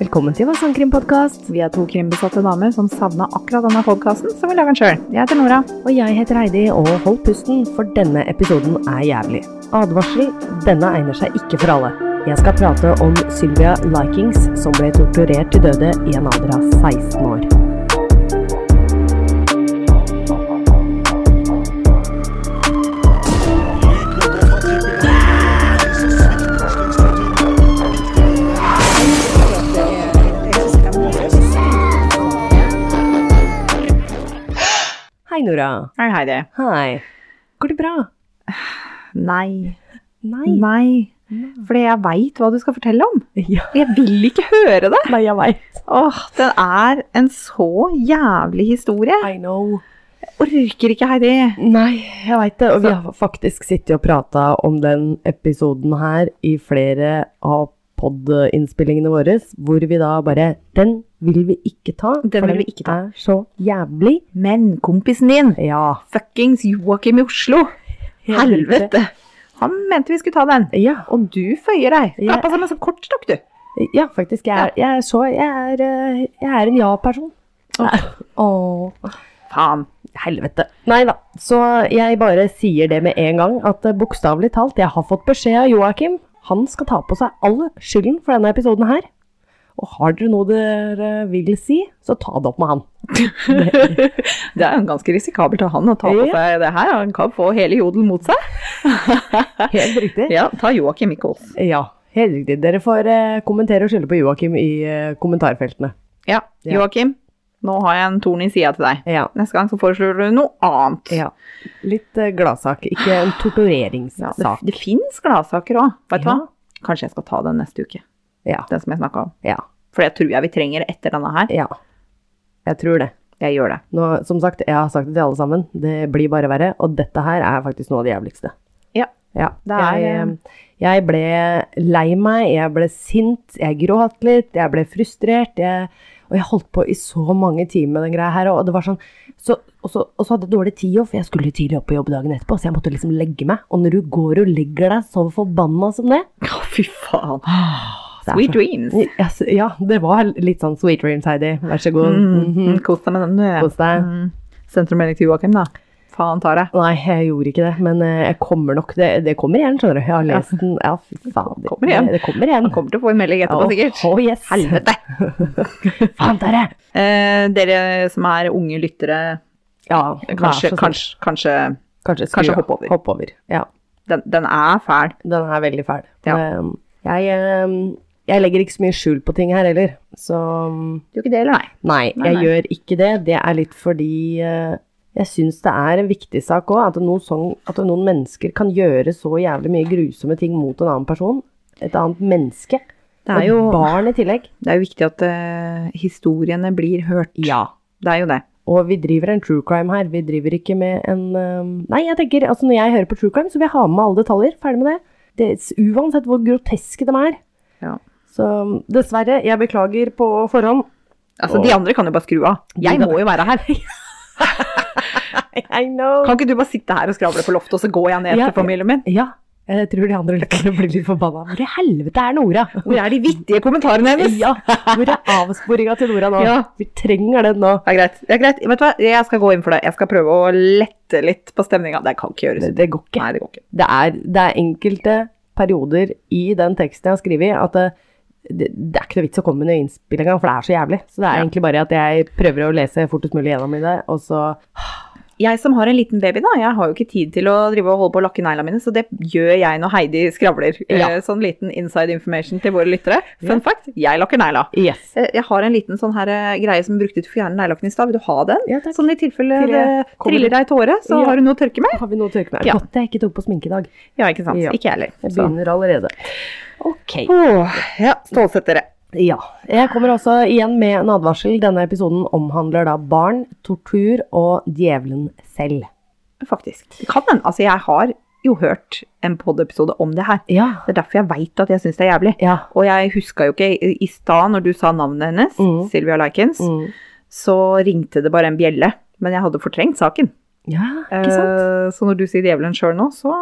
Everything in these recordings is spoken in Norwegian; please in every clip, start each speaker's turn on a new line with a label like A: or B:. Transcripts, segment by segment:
A: Velkommen til vår sangkrimpodkast.
B: Vi er to krimbesatte damer som savna akkurat denne podkasten, så vi lager den sjøl. Jeg heter Nora.
A: Og jeg heter Heidi, og hold pusten, for denne episoden er jævlig. Advarsel, denne egner seg ikke for alle. Jeg skal prate om Sylvia Likings, som ble torturert til døde i en alder av 16 år. Hei, Nora.
B: Hei, Heidi.
A: Hei. Går det bra?
B: Nei.
A: Nei.
B: Nei. Fordi jeg veit hva du skal fortelle om.
A: Ja.
B: Jeg vil ikke høre det.
A: Nei, jeg veit.
B: Åh, den er en så jævlig historie.
A: I know.
B: Jeg orker ikke, Heidi.
A: Nei, jeg veit det. Og
B: Altså-
A: vi har faktisk sittet og prata om den episoden her i flere av pod-innspillingene våre, hvor vi da bare Den vil vi ikke ta,
B: Den vil vi ikke ta.
A: er så jævlig.
B: Men kompisen din,
A: Ja.
B: fuckings Joakim i Oslo, helvete. Han mente vi skulle ta den.
A: Ja,
B: Og du føyer deg.
A: Ja.
B: Trappa som en sånn kortstokk, du.
A: ja faktisk. Jeg er, jeg er så Jeg er, eh, jeg er en ja-person. Åh.
B: Faen.
A: Helvete. Nei da. Så jeg bare sier det med en gang, at eh, bokstavelig talt, jeg har fått beskjed av Joakim. Han skal ta på seg all skylden for denne episoden her. Og har dere noe dere vil si, så ta det opp med han.
B: Det er jo ganske risikabelt av han å ta på
A: Ja.
B: seg det her. Han kan få hele jodel mot seg.
A: Helt riktig.
B: Ja, ta Joakim, ikke oss.
A: Ja, helt riktig. Dere får eh, kommentere og skylde på Joakim i eh, kommentarfeltene.
B: Ja,
A: Ja.
B: Joakim, nå har jeg en torn i sida til deg.
A: Ja.
B: Neste gang så foreslår du noe annet.
A: ja. Litt eh, gladsak, ikke en
B: Ja,
A: tortureringssak.
B: det, det fins gladsaker òg, vet du
A: Ja.
B: hva? Kanskje jeg skal ta den neste uke,
A: Ja.
B: den som jeg snakka om.
A: ja.
B: For det tror jeg vi trenger etter denne her.
A: Ja. Jeg tror det.
B: Jeg gjør det.
A: Nå, som sagt, jeg har sagt det til alle sammen, det blir bare verre, og dette her er faktisk noe av det jævligste.
B: Ja.
A: Ja,
B: Det er,
A: jeg, jeg ble lei meg, jeg ble sint, jeg gråt litt, jeg ble frustrert, jeg, og jeg holdt på i så mange timer med den greia her, og det var sånn, så, og, så, og så hadde jeg dårlig tid også, for jeg skulle tidlig opp på jobb dagen etterpå, så jeg måtte liksom legge meg, og når du går og legger deg så forbanna som det,
B: Å, fy faen.
A: det er
B: Ah,
A: så-
B: Sweet
A: Oh,
B: dreams.
A: Ja, så- Ja, det var litt sånn sweet dreams, Heidi. Vær så god.
B: Mm,
A: Mhm.
B: mm, Kos deg med den, du.
A: Kos deg.
B: Mm. Sentrummelding til Joakim, da. Faen tar jeg.
A: Nei, jeg gjorde ikke det, men eh, jeg kommer nok. Det, det kommer igjen, skjønner du. Jeg har lest den. Ja, fy faen.
B: kommer igjen.
A: Det, det kommer igjen.
B: Han kommer til å få en melding etterpå,
A: Mm. Åh,
B: sikkert.
A: åh, yes.
B: Helvete!
A: Faen, der er jeg.
B: Eh, dere som er unge lyttere,
A: Ja,
B: kanskje, kanskje, kanskje
A: kanskje,
B: kanskje
A: skru-
B: hopp over.
A: Hopp over. Ja,
B: den, den er fæl.
A: den er veldig fæl.
B: Ja.
A: Men, jeg, eh, jeg legger ikke så mye skjul på ting her heller, så mm,
B: Gjør ikke det, eller nei?
A: nei,
B: Nei,
A: jeg
B: nei.
A: gjør ikke det. Det er litt fordi eh, jeg syns det er en viktig sak òg, at, noen sånn- at noen mennesker kan gjøre så jævlig mye grusomme ting mot en annen person. Et annet menneske.
B: Det er jo,
A: Og barn i tillegg.
B: det er jo viktig at eh, historiene blir hørt.
A: Ja.
B: Det er jo det.
A: Og vi driver en true crime her. Vi driver ikke med en øhm, Nei, jeg tenker, altså når jeg hører på true crime, så vil jeg ha med alle detaljer. Ferdig med det. det uansett hvor groteske de er.
B: Ja.
A: Så øhm, dessverre, jeg beklager på forhånd.
B: Altså,
A: Og-
B: De andre kan jo bare skru av. Jeg
A: De-
B: må jo være her.
A: I know.
B: Kan ikke du bare sitte her og skravle på loftet, og så går jeg ned
A: Ja.
B: til familien min?
A: Ja, jeg tror de andre lytterne blir litt forbanna. Hvor i helvete er Nora?
B: Hvor er de vittige kommentarene hennes?
A: Ja, hvor er avsporinga til Nora nå?
B: Ja.
A: Vi trenger den nå.
B: Det er greit. det er greit. Vet du hva? Jeg skal gå inn for det. Jeg skal prøve å lette litt på stemninga. Det kan ikke gjøres.
A: Det, det går ikke.
B: Nei, det går ikke.
A: det er, det er enkelte perioder i den teksten jeg har skrevet, at det, det, det er ikke noe vits å komme med noe innspill engang, for det er så jævlig. Så det er
B: Ja.
A: egentlig bare at jeg prøver å lese fortest mulig gjennom i det, og så
B: Jeg som har en liten baby, da, jeg har jo ikke tid til å drive og holde på å lakke neglene mine, så det gjør jeg når Heidi skravler.
A: Ja.
B: Eh, Sånn liten inside information til våre lyttere. Fun fact, jeg lakker negla.
A: Yes.
B: Eh, Jeg har en liten sånn her eh, greie som jeg brukte til å fjerne neglelakken i stad. Vil du ha den?
A: Ja, takk.
B: Sånn i tilfelle
A: Til
B: det
A: jeg kommer-
B: triller deg i tåre, så
A: Ja.
B: har du noe å tørke med.
A: Har vi noe å tørke med?
B: Ja.
A: Godt jeg ikke tok på sminke i dag.
B: Ja, ikke sant.
A: Ja.
B: Ikke jeg heller.
A: Jeg
B: Så.
A: begynner allerede. Ok.
B: Åh, ja, stålsett dere.
A: Ja. Jeg kommer også igjen med en advarsel. Denne episoden omhandler da barn, tortur og djevelen selv.
B: Faktisk. Det kan hende. Altså, jeg har jo hørt en pod-episode om det her.
A: Ja.
B: Det er derfor jeg veit at jeg syns det er jævlig.
A: Ja.
B: Og jeg huska jo ikke i- I stad, når du sa navnet hennes,
A: Mm.
B: Sylvia Likens,
A: Mm.
B: så ringte det bare en bjelle. Men jeg hadde fortrengt saken.
A: Ja, ikke sant?
B: Eh, så når du sier djevelen sjøl nå, så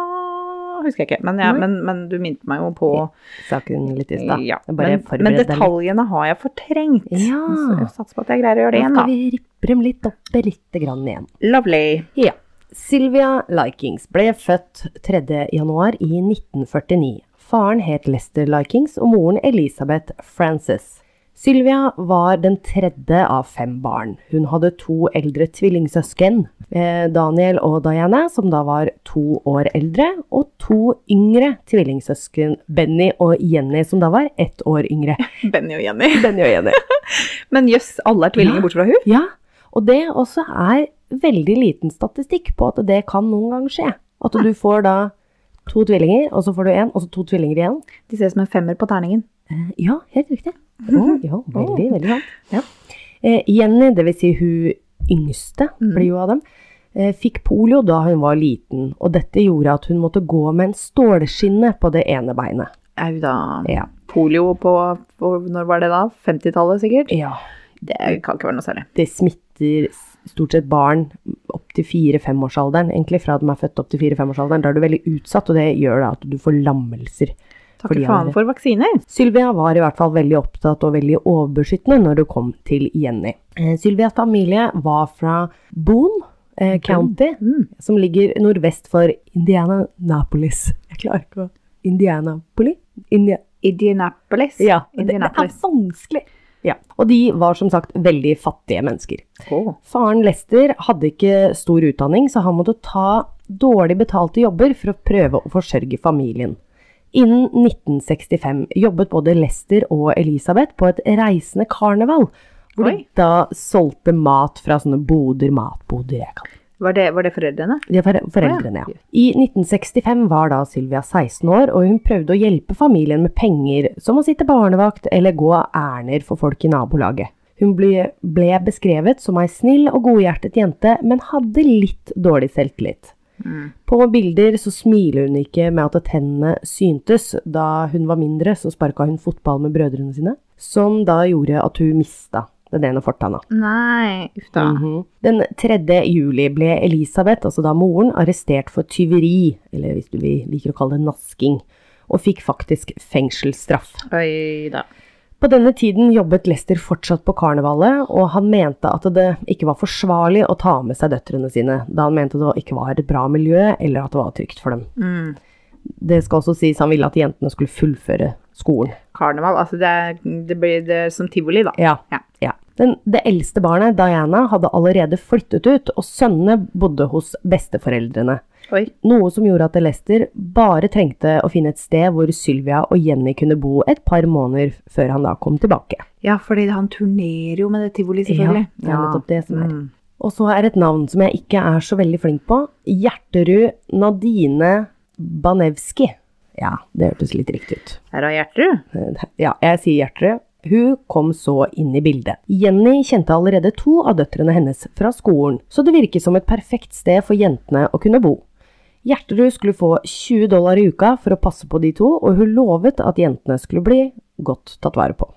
B: husker jeg ikke. Men, jeg,
A: Nei.
B: men, men du minte meg jo på
A: Eh, saken litt i stad.
B: ja,
A: Jeg
B: men,
A: forbered
B: men
A: deg litt.
B: detaljene har jeg fortrengt.
A: Ja.
B: Så jeg satser på at jeg greier å gjøre
A: Da
B: det
A: skal
B: igjen, da.
A: vi rippe dem litt opp lite grann igjen.
B: Lovely.
A: Ja. Sylvia Likings ble født 3. januar i 1949. Faren het Lester Likings og moren Elisabeth Frances. Sylvia var den tredje av fem barn. Hun hadde to eldre tvillingsøsken, eh, Daniel og Diana, som da var to år eldre, og to yngre tvillingsøsken, Benny og Jenny, som da var ett år yngre.
B: Benny og Jenny.
A: Benny og Jenny.
B: Men jøss, alle er tvillinger
A: Ja.
B: bortsett fra hun.
A: Ja, og det også er veldig liten statistikk på at det kan noen gang skje. At du får da to tvillinger, og så får du én, og så to tvillinger igjen.
B: De ser ut som en femmer på terningen.
A: Eh, Ja, helt riktig. Å, ja, veldig, veldig sant. Ja. Eh, Jenny, dvs. Si hun yngste,
B: Mm.
A: blir jo av dem, eh, fikk polio da hun var liten, og dette gjorde at hun måtte gå med en stålskinne på det ene beinet.
B: Au da.
A: Ja.
B: Polio på hvor- Når var det da? 50-tallet sikkert?
A: ja.
B: Det kan ikke være noe særlig.
A: det smitter s- stort sett barn opp til 4-5-årsalderen, egentlig fra de er født opp til 4-5-årsalderen. Da er du veldig utsatt, og det gjør da at du får lammelser.
B: Takk
A: Fordi
B: faen
A: han-
B: for vaksiner.
A: Sylvia var i hvert fall veldig opptatt og veldig overbeskyttende når det kom til Jenny. Eh, Sylvias familie var fra Boone eh, County,
B: Mm.
A: som ligger nordvest for Indianapolis. Jeg klarer ikke å Indianapolis? India
B: Indianapolis.
A: ja, det, det er
B: Indianapolis.
A: vanskelig. Ja. Og de var som sagt veldig fattige mennesker.
B: Åh.
A: Faren Lester hadde ikke stor utdanning, så han måtte ta dårlig betalte jobber for å prøve å forsørge familien. Innen 1965 jobbet både Lester og Elisabeth på et reisende karneval, hvor
B: Oi.
A: de da solgte mat fra sånne boder, matboder jeg kaller det.
B: Var, det, var det foreldrene?
A: Det var foreldrene, ja. I 1965 var da Sylvia 16 år, og hun prøvde å hjelpe familien med penger, som å sitte barnevakt eller gå ærender for folk i nabolaget. Hun ble, ble beskrevet som ei snill og godhjertet jente, men hadde litt dårlig selvtillit.
B: Mm.
A: På bilder så smiler hun ikke med at tennene syntes. Da hun var mindre, så sparka hun fotball med brødrene sine, som da gjorde at hun mista den ene fortanna.
B: Nei, uff da.
A: Mhm. Den 3. juli ble Elisabeth, altså da moren, arrestert for tyveri, eller hvis du vil- liker å kalle det nasking, og fikk faktisk fengselsstraff.
B: Oi da.
A: På denne tiden jobbet Lester fortsatt på karnevalet, og han mente at det ikke var forsvarlig å ta med seg døtrene sine, da han mente det ikke var et bra miljø, eller at det var trygt for dem.
B: Mm.
A: Det skal også sies han ville at jentene skulle fullføre skolen.
B: Karneval, altså det, er- det blir det er som tivoli, da.
A: Ja.
B: Ja.
A: ja. Den, det eldste barnet, Diana, hadde allerede flyttet ut, og sønnene bodde hos besteforeldrene.
B: Oi.
A: Noe som gjorde at Lester bare trengte å finne et sted hvor Sylvia og Jenny kunne bo et par måneder før han da kom tilbake.
B: Ja, fordi han turnerer jo med det tivoli, selvfølgelig.
A: Ja, det er nettopp det som er.
B: Mm.
A: Og så er et navn som jeg ikke er så veldig flink på. Hjerterud Nadine Banevski. Ja, det hørtes litt riktig ut.
B: Her har Gjertrud.
A: Ja, jeg sier Hjerterud. Hun kom så inn i bildet. Jenny kjente allerede to av døtrene hennes fra skolen, så det virket som et perfekt sted for jentene å kunne bo. Hjerterud skulle få 20 dollar i uka for å passe på de to, og hun lovet at jentene skulle bli godt tatt vare på.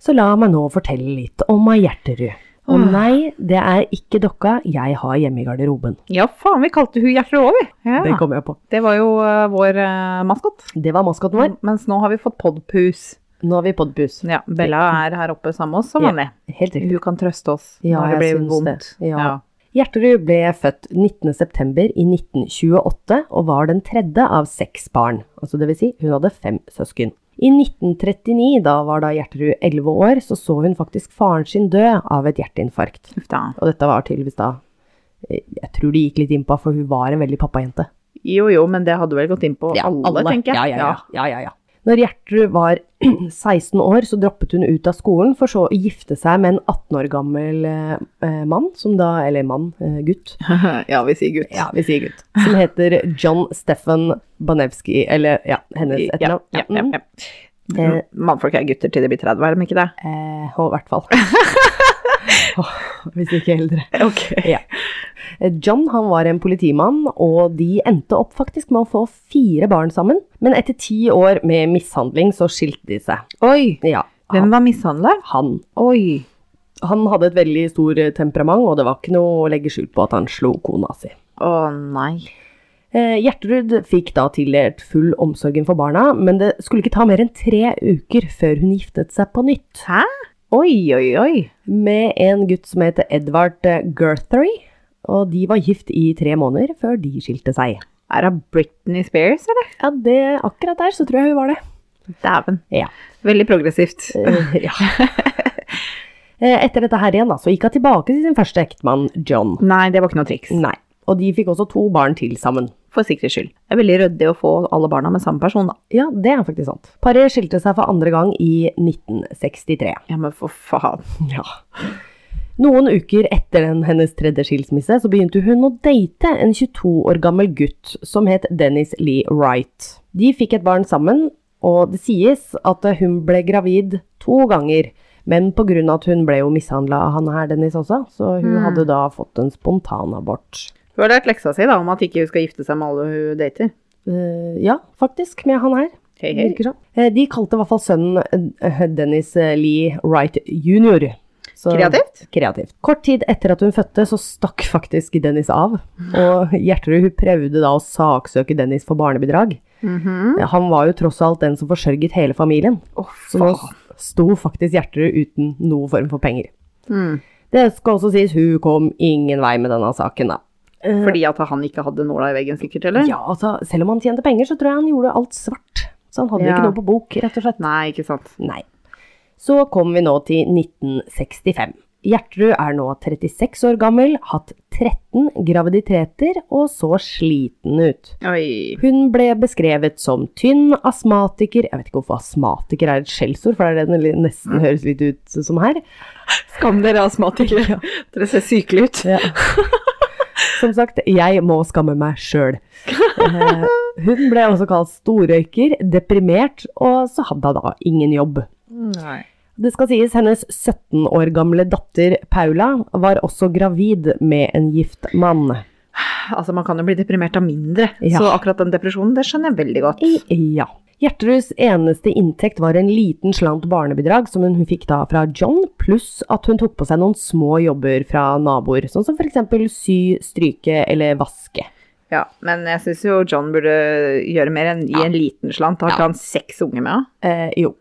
A: Så la meg nå fortelle litt om ei Hjerterud. Og nei, det er ikke dokka jeg har hjemme i garderoben.
B: Ja, faen, vi kalte hun Gjertrud òg, vi. Ja.
A: Det
B: Det,
A: kom jeg på.
B: var jo eh, vår uh, maskot.
A: Det var maskoten vår.
B: Mens nå har vi fått podpus.
A: Nå har vi podpus.
B: Ja, Bella er her oppe sammen med oss som
A: Ja.
B: vanlig.
A: Helt riktig.
B: Hun kan trøste oss
A: Ja,
B: når det
A: jeg
B: blir
A: syns
B: vondt.
A: det. Ja. Gjerterud ble født 19.9.1928 og var den tredje av seks barn, altså det vil si hun hadde fem søsken. I 1939, da var da Gjerterud 11 år, så så hun faktisk faren sin dø av et hjerteinfarkt.
B: Uff da.
A: Og dette var tydeligvis da eh, Jeg tror de gikk litt innpå, for hun var en veldig pappajente.
B: Jo jo, men det hadde vel gått inn på alle, tenker jeg.
A: Ja, ja, ja. ja, ja, ja. Når Gjertrud var 16 år, så droppet hun ut av skolen, for så å gifte seg med en 18 år gammel eh, eh, mann, som da, eller mann, eh, gutt,
B: Ja. ja, vi sier gutt.
A: Ja, vi sier gutt. Som heter John Steffen Banevski, eller ja, hennes
B: ja,
A: etternavn.
B: ja, ja,
A: mm.
B: ja. Mm, Mannfolk er gutter til de blir 30, er de ikke det?
A: Eh, og i hvert fall. Åh, hvis ikke eldre.
B: Ok.
A: Ja. Eh, John han var en politimann, og de endte opp faktisk med å få fire barn sammen. Men etter ti år med mishandling så skilte de seg.
B: Oi,
A: Ja,
B: hvem
A: han,
B: var mishandla?
A: han.
B: Oi.
A: Han hadde et veldig stor temperament, og det var ikke noe å legge skjul på at han slo kona si.
B: Å nei.
A: Eh, Gjertrud fikk da tildelt full omsorgen for barna, men det skulle ikke ta mer enn tre uker før hun giftet seg på nytt
B: Hæ? Oi, oi, oi.
A: med en gutt som heter Edvard eh, Gerthery. Og de var gift i tre måneder før de skilte seg.
B: Er det Britney Spears, eller?
A: Ja, det, akkurat der så tror jeg hun var det.
B: Dæven.
A: Ja.
B: Veldig progressivt.
A: Eh, ja. Eh, Etter dette her igjen da, så gikk hun tilbake til sin første ektemann, John.
B: Nei, det var ikke noe triks.
A: Nei. Og de fikk også to barn til sammen.
B: For sikkerhets skyld. Det er veldig ryddig å få alle barna med samme person, da.
A: Ja, det er faktisk sant. Paret skilte seg for andre gang i 1963.
B: Ja, men for faen.
A: Ja. Noen uker etter den, hennes tredje skilsmisse så begynte hun å date en 22 år gammel gutt som het Dennis Lee Wright. De fikk et barn sammen, og det sies at hun ble gravid to ganger. Men pga. at hun ble jo mishandla av han her, Dennis også, så hun hadde da fått en spontanabort.
B: Hun har lært leksa si da, om at ikke hun skal gifte seg med alle hun dater.
A: Eh, ja, faktisk, med han her.
B: Hei, hei.
A: Virker sånn. Eh, de kalte i hvert fall sønnen eh, Dennis eh, Lee Wright jr. Så-
B: Kreativt.
A: kreativt. Kort tid etter at hun fødte, så stakk faktisk Dennis av. Og Gjertrud hun prøvde da å saksøke Dennis for barnebidrag.
B: Mhm.
A: Han var jo tross alt den som forsørget hele familien.
B: Å,
A: Så nå
B: faen.
A: sto faktisk Gjertrud uten noen form for penger.
B: Mm.
A: Det skal også sies, hun kom ingen vei med denne saken, da.
B: Fordi at han ikke hadde nåla i veggen, sikkert, eller?
A: Ja, altså, selv om han tjente penger, så tror jeg han gjorde alt svart. Så han hadde
B: Ja.
A: ikke noe på bok, rett og slett.
B: Nei, ikke sant.
A: Nei. Så kom vi nå til 1965. Gjertrud er nå 36 år gammel, hatt 13 graviditeter og så sliten ut.
B: Oi.
A: Hun ble beskrevet som tynn, astmatiker Jeg vet ikke hvorfor astmatiker er et skjellsord, for det er det det nesten høres litt ut som her.
B: Skam dere astmatikere. Dere ser sykelige ut.
A: Som sagt, jeg må skamme meg sjøl. Eh, Hun ble også kalt storrøyker, deprimert, og så hadde hun da ingen jobb.
B: Nei.
A: Det skal sies hennes 17 år gamle datter Paula var også gravid med en gift mann.
B: Altså, man kan jo bli deprimert av mindre.
A: Ja.
B: Så akkurat den depresjonen, det skjønner jeg veldig godt.
A: I, ja. Gjertruds eneste inntekt var en liten slant barnebidrag som hun fikk da fra John, pluss at hun tok på seg noen små jobber fra naboer, sånn som f.eks. sy, stryke eller vaske.
B: Ja, men jeg syns jo John burde gjøre mer enn gi en liten slant. Har ikke han seks unger med? da?
A: Eh, jo.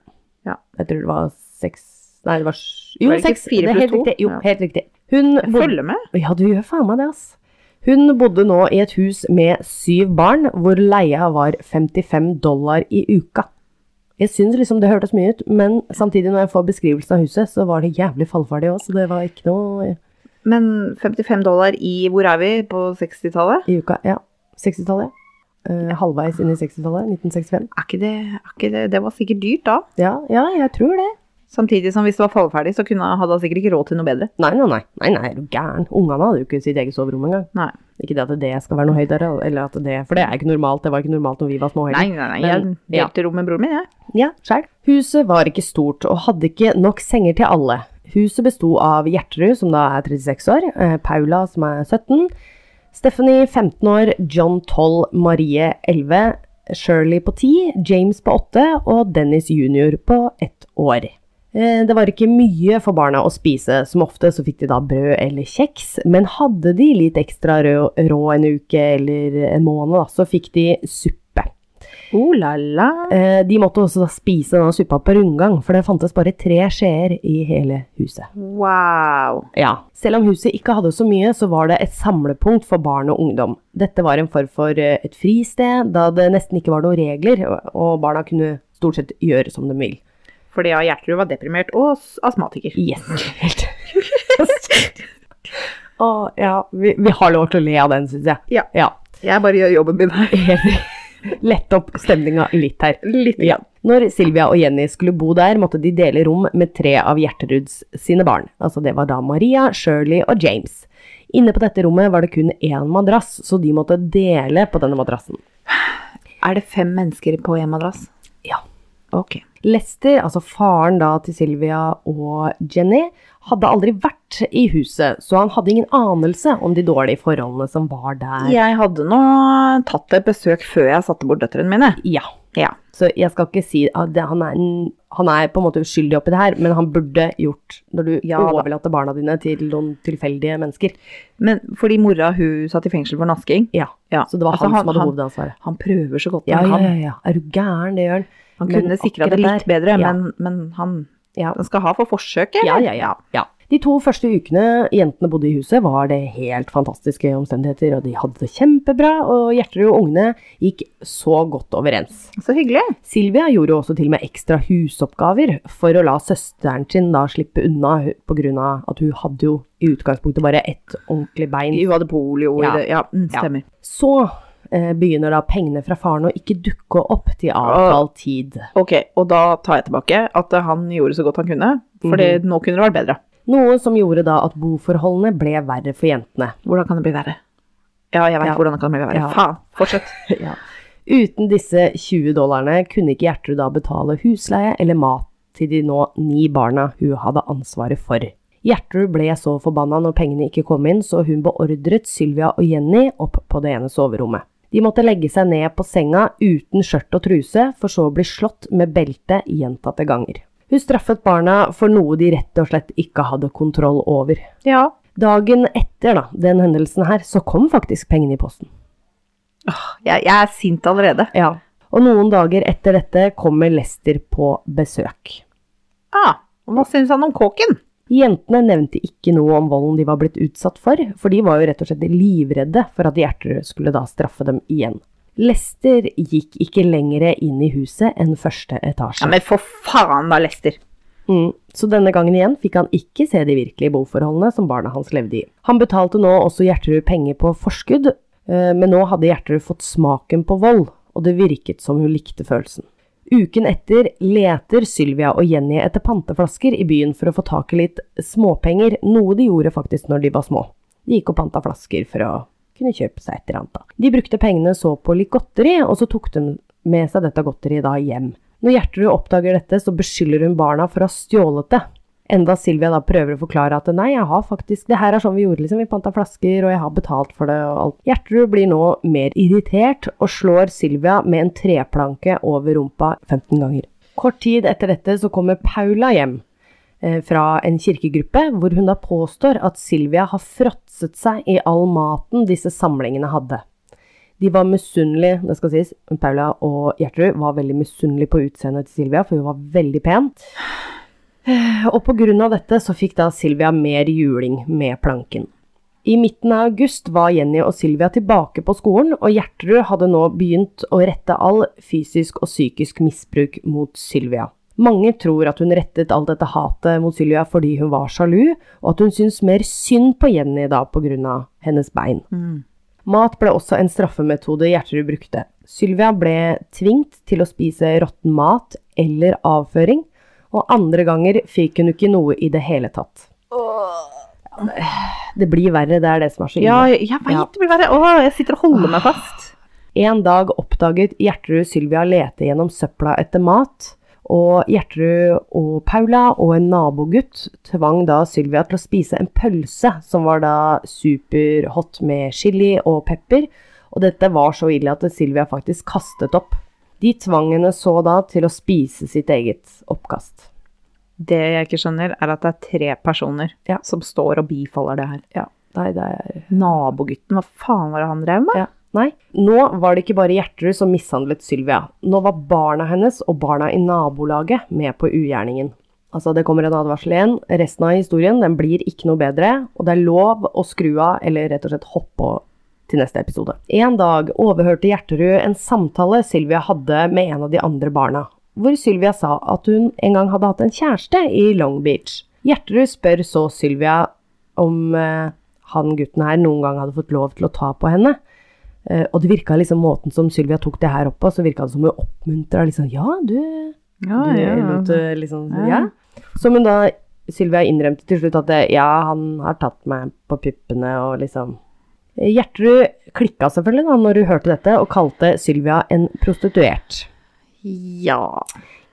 B: Ja.
A: Jeg tror det var seks Nei, det var sj- Jo,
B: Var det ikke
A: seks.
B: fire
A: Det er
B: pluss
A: helt
B: to?
A: riktig. Jo,
B: Ja.
A: helt riktig. Hun
B: Jeg
A: bodde-
B: følger med.
A: Ja, du gjør faen meg det, ass. Hun bodde nå i et hus med syv barn, hvor leia var 55 dollar i uka. Jeg syns liksom det hørtes mye ut, men samtidig når jeg får beskrivelsen av huset, så var det jævlig fallferdig òg, så det var ikke noe
B: Men 55 dollar i Hvor er vi? På 60-tallet?
A: i uka. Ja, 60-tallet. Eh, halvveis inn i 60-tallet, 1965.
B: Er ikke det, er ikke det Det var sikkert dyrt da.
A: Ja, ja, jeg tror det.
B: Samtidig som hvis det var fallferdig, så kunne, hadde han sikkert ikke råd til noe bedre.
A: Nei, nei, nei, nei, nei, er du gæren. Ungene hadde jo ikke sitt eget soverom engang.
B: Nei,
A: Ikke det at det skal være noe høydere, eller at det For det er ikke normalt, det var ikke normalt når vi var små heller.
B: nei, nei, nei jeg
A: Men- ja.
B: delte rom med broren min, jeg.
A: Ja, sjøl. Huset var ikke stort og hadde ikke nok senger til alle. Huset besto av Gjertrud, som da er 36 år, eh, Paula, som er 17, Stephanie, 15 år, John 12, Marie, 11, Shirley på 10, James på 8 og Dennis jr. på 1 år. Eh, Det var ikke mye for barna å spise, som ofte så fikk de da brød eller kjeks, men hadde de litt ekstra rå, rå en uke eller en måned, da, så fikk de suppe.
B: Oh la la.
A: Eh, De måtte også da spise denne suppa på rundgang, for det fantes bare tre skjeer i hele huset.
B: Wow.
A: Ja. Selv om huset ikke hadde så mye, så var det et samlepunkt for barn og ungdom. Dette var en form for eh, et fristed, da det nesten ikke var noen regler, og- og barna kunne stort sett gjøre som de vil.
B: Fordi ja, Gjertrud var deprimert og s- astmatiker.
A: Yes, helt. Å, ja, vi, vi har lov til å le av den, syns jeg.
B: Ja.
A: ja.
B: Jeg bare gjør jobben min her.
A: Lette opp stemninga litt her.
B: Litt.
A: Ja. Når Silvia og Jenny skulle bo der, måtte de dele rom med tre av Gjertruds sine barn. Altså det var da Maria, Shirley og James. Inne på dette rommet var det kun én madrass, så de måtte dele på denne madrassen.
B: Er det fem mennesker på en madrass?
A: Ja.
B: Ok.
A: Lester, altså faren da til Sylvia og Jenny, hadde aldri vært i huset, så han hadde ingen anelse om de dårlige forholdene som var der.
B: Jeg hadde nå tatt et besøk før jeg satte bort døtrene mine.
A: Ja.
B: Ja.
A: Så jeg skal ikke si at det, han, er en, han er på en måte uskyldig oppi det her, men han burde gjort når du
B: Ja, da.
A: overlater barna dine til noen tilfeldige mennesker.
B: Men fordi mora hun satt i fengsel for nasking.
A: Ja.
B: Ja.
A: Så det var
B: Altså,
A: han, som hadde
B: han,
A: hovedansvaret.
B: han prøver så godt
A: Ja,
B: han
A: ja,
B: kan.
A: ja, ja. Er du gæren, det gjør han.
B: Han
A: Men
B: kunne sikra det
A: akkurat
B: litt bedre,
A: ja.
B: men, men han,
A: Ja.
B: han skal ha for forsøket.
A: Ja,
B: eller?
A: ja, ja, ja. De to første ukene jentene bodde i huset, var det helt fantastiske omstendigheter, og de hadde det kjempebra, og Gjertrud og ungene gikk så godt overens.
B: Så hyggelig.
A: Silvia gjorde jo også til og med ekstra husoppgaver for å la søsteren sin da slippe unna, hu- på grunn av at hun hadde jo i utgangspunktet bare ett ordentlig bein.
B: Hun hadde polio i
A: Ja.
B: det. Ja, mm,
A: Ja.
B: stemmer.
A: Så eh, begynner da pengene fra faren å ikke dukke opp til avtalt tid.
B: Ok, og da tar jeg tilbake at eh, han gjorde så godt han kunne, for det- nå kunne det vært bedre.
A: Noe som gjorde da at boforholdene ble verre for jentene.
B: Hvordan kan det bli verre? Ja, jeg veit
A: Ja.
B: hvordan det kan bli verre.
A: Ja.
B: Faen, fortsett.
A: Ja. Uten disse 20 dollarene kunne ikke Gjertrud da betale husleie eller mat til de nå ni barna hun hadde ansvaret for. Gjertrud ble så forbanna når pengene ikke kom inn, så hun beordret Sylvia og Jenny opp på det ene soverommet. De måtte legge seg ned på senga uten skjørt og truse, for så å bli slått med belte gjentatte ganger. Hun straffet barna for noe de rett og slett ikke hadde kontroll over.
B: Ja.
A: Dagen etter da, den hendelsen her, så kom faktisk pengene i posten.
B: Jeg, jeg er sint allerede.
A: Ja. Og noen dager etter dette kommer Lester på besøk.
B: Ah, og hva syns han om kåken?
A: Jentene nevnte ikke noe om volden de var blitt utsatt for, for de var jo rett og slett livredde for at Gjertrud skulle da straffe dem igjen. Lester gikk ikke lenger inn i huset enn første
B: Ja,
A: etasje.
B: men for faen da, Lester.
A: Mm. Så denne gangen igjen fikk han ikke se de virkelige boforholdene som barna hans levde i. Han betalte nå også Gjertrud penger på forskudd, eh, men nå hadde Gjertrud fått smaken på vold, og det virket som hun likte følelsen. Uken etter leter Sylvia og Jenny etter panteflasker i byen for å få tak i litt småpenger, noe de gjorde faktisk når de var små. De gikk og panta flasker for å kunne kjøpe seg et eller annet. da. De brukte pengene så på litt godteri, og så tok de med seg dette godteriet da hjem. Når Gjertrud oppdager dette, så beskylder hun barna for å ha stjålet det. Enda Silvia da prøver å forklare at nei, jeg har faktisk, det her er sånn vi gjorde, liksom, vi panta flasker, og jeg har betalt for det og alt. Gjertrud blir nå mer irritert, og slår Silvia med en treplanke over rumpa 15 ganger. Kort tid etter dette så kommer Paula hjem eh, fra en kirkegruppe, hvor hun da påstår at Silvia har fråtset seg i all maten disse samlingene hadde. De var misunnelige, det skal sies. Paula og Gjertrud var veldig misunnelige på utseendet til Silvia, for hun var veldig pen. Eh, Og på grunn av dette så fikk da Silvia mer juling med planken. I midten av august var Jenny og Silvia tilbake på skolen, og Gjertrud hadde nå begynt å rette all fysisk og psykisk misbruk mot Sylvia. Mange tror at hun rettet alt dette hatet mot Sylvia fordi hun var sjalu, og at hun syntes mer synd på Jenny da på grunn av hennes bein.
B: Mm.
A: Mat ble også en straffemetode Gjertrud brukte. Sylvia ble tvingt til å spise råtten mat eller avføring, og andre ganger fikk hun ikke noe i det hele tatt. Det blir verre, det er det som er så ille.
B: Ja, jeg veit
A: Ja.
B: det blir verre. Åh, jeg sitter og holder meg fast.
A: En dag oppdaget Gjertrud Sylvia lete gjennom søpla etter mat, og Gjertrud og Paula og en nabogutt tvang da Sylvia til å spise en pølse som var da superhot med chili og pepper, og dette var så ille at Sylvia faktisk kastet opp. De tvang henne så da til å spise sitt eget oppkast.
B: Det jeg ikke skjønner, er at det er tre personer
A: Ja.
B: som står og bifaller det her.
A: Nei, det er
B: Nabogutten, hva faen var det han drev med?
A: ja. Nei, nå var det ikke bare Gjertrud som mishandlet Sylvia. Nå var barna hennes og barna i nabolaget med på ugjerningen. Altså, det kommer en advarsel igjen. Resten av historien den blir ikke noe bedre, og det er lov å skru av eller rett og slett hoppe av til neste episode. En dag overhørte Gjerterud en samtale Sylvia hadde med en av de andre barna, hvor Sylvia sa at hun en gang hadde hatt en kjæreste i Long Beach. Gjerterud spør så Sylvia om eh, han gutten her noen gang hadde fått lov til å ta på henne. Eh, og det virka liksom måten som Sylvia tok det her opp på, så virka det som hun oppmuntra liksom Ja, du
B: Ja,
A: du,
B: Ah, ja.
A: lot det liksom,
B: Ja.
A: ja. Som hun da Sylvia innrømte til slutt at det, ja, han har tatt meg på puppene og liksom Gjertrud klikka selvfølgelig da når hun hørte dette, og kalte Sylvia en prostituert.
B: Ja.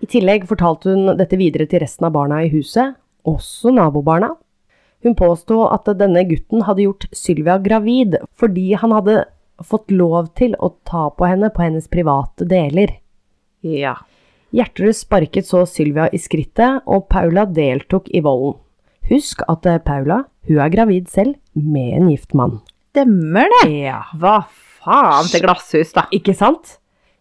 A: I tillegg fortalte hun dette videre til resten av barna i huset, også nabobarna. Hun påsto at denne gutten hadde gjort Sylvia gravid fordi han hadde fått lov til å ta på henne på hennes private deler.
B: Ja.
A: Gjertrud sparket så Sylvia i skrittet, og Paula deltok i volden. Husk at eh, Paula, hun er gravid selv, med en gift mann.
B: Stemmer det!
A: Ja.
B: Hva faen til glasshus, da.
A: Ikke sant?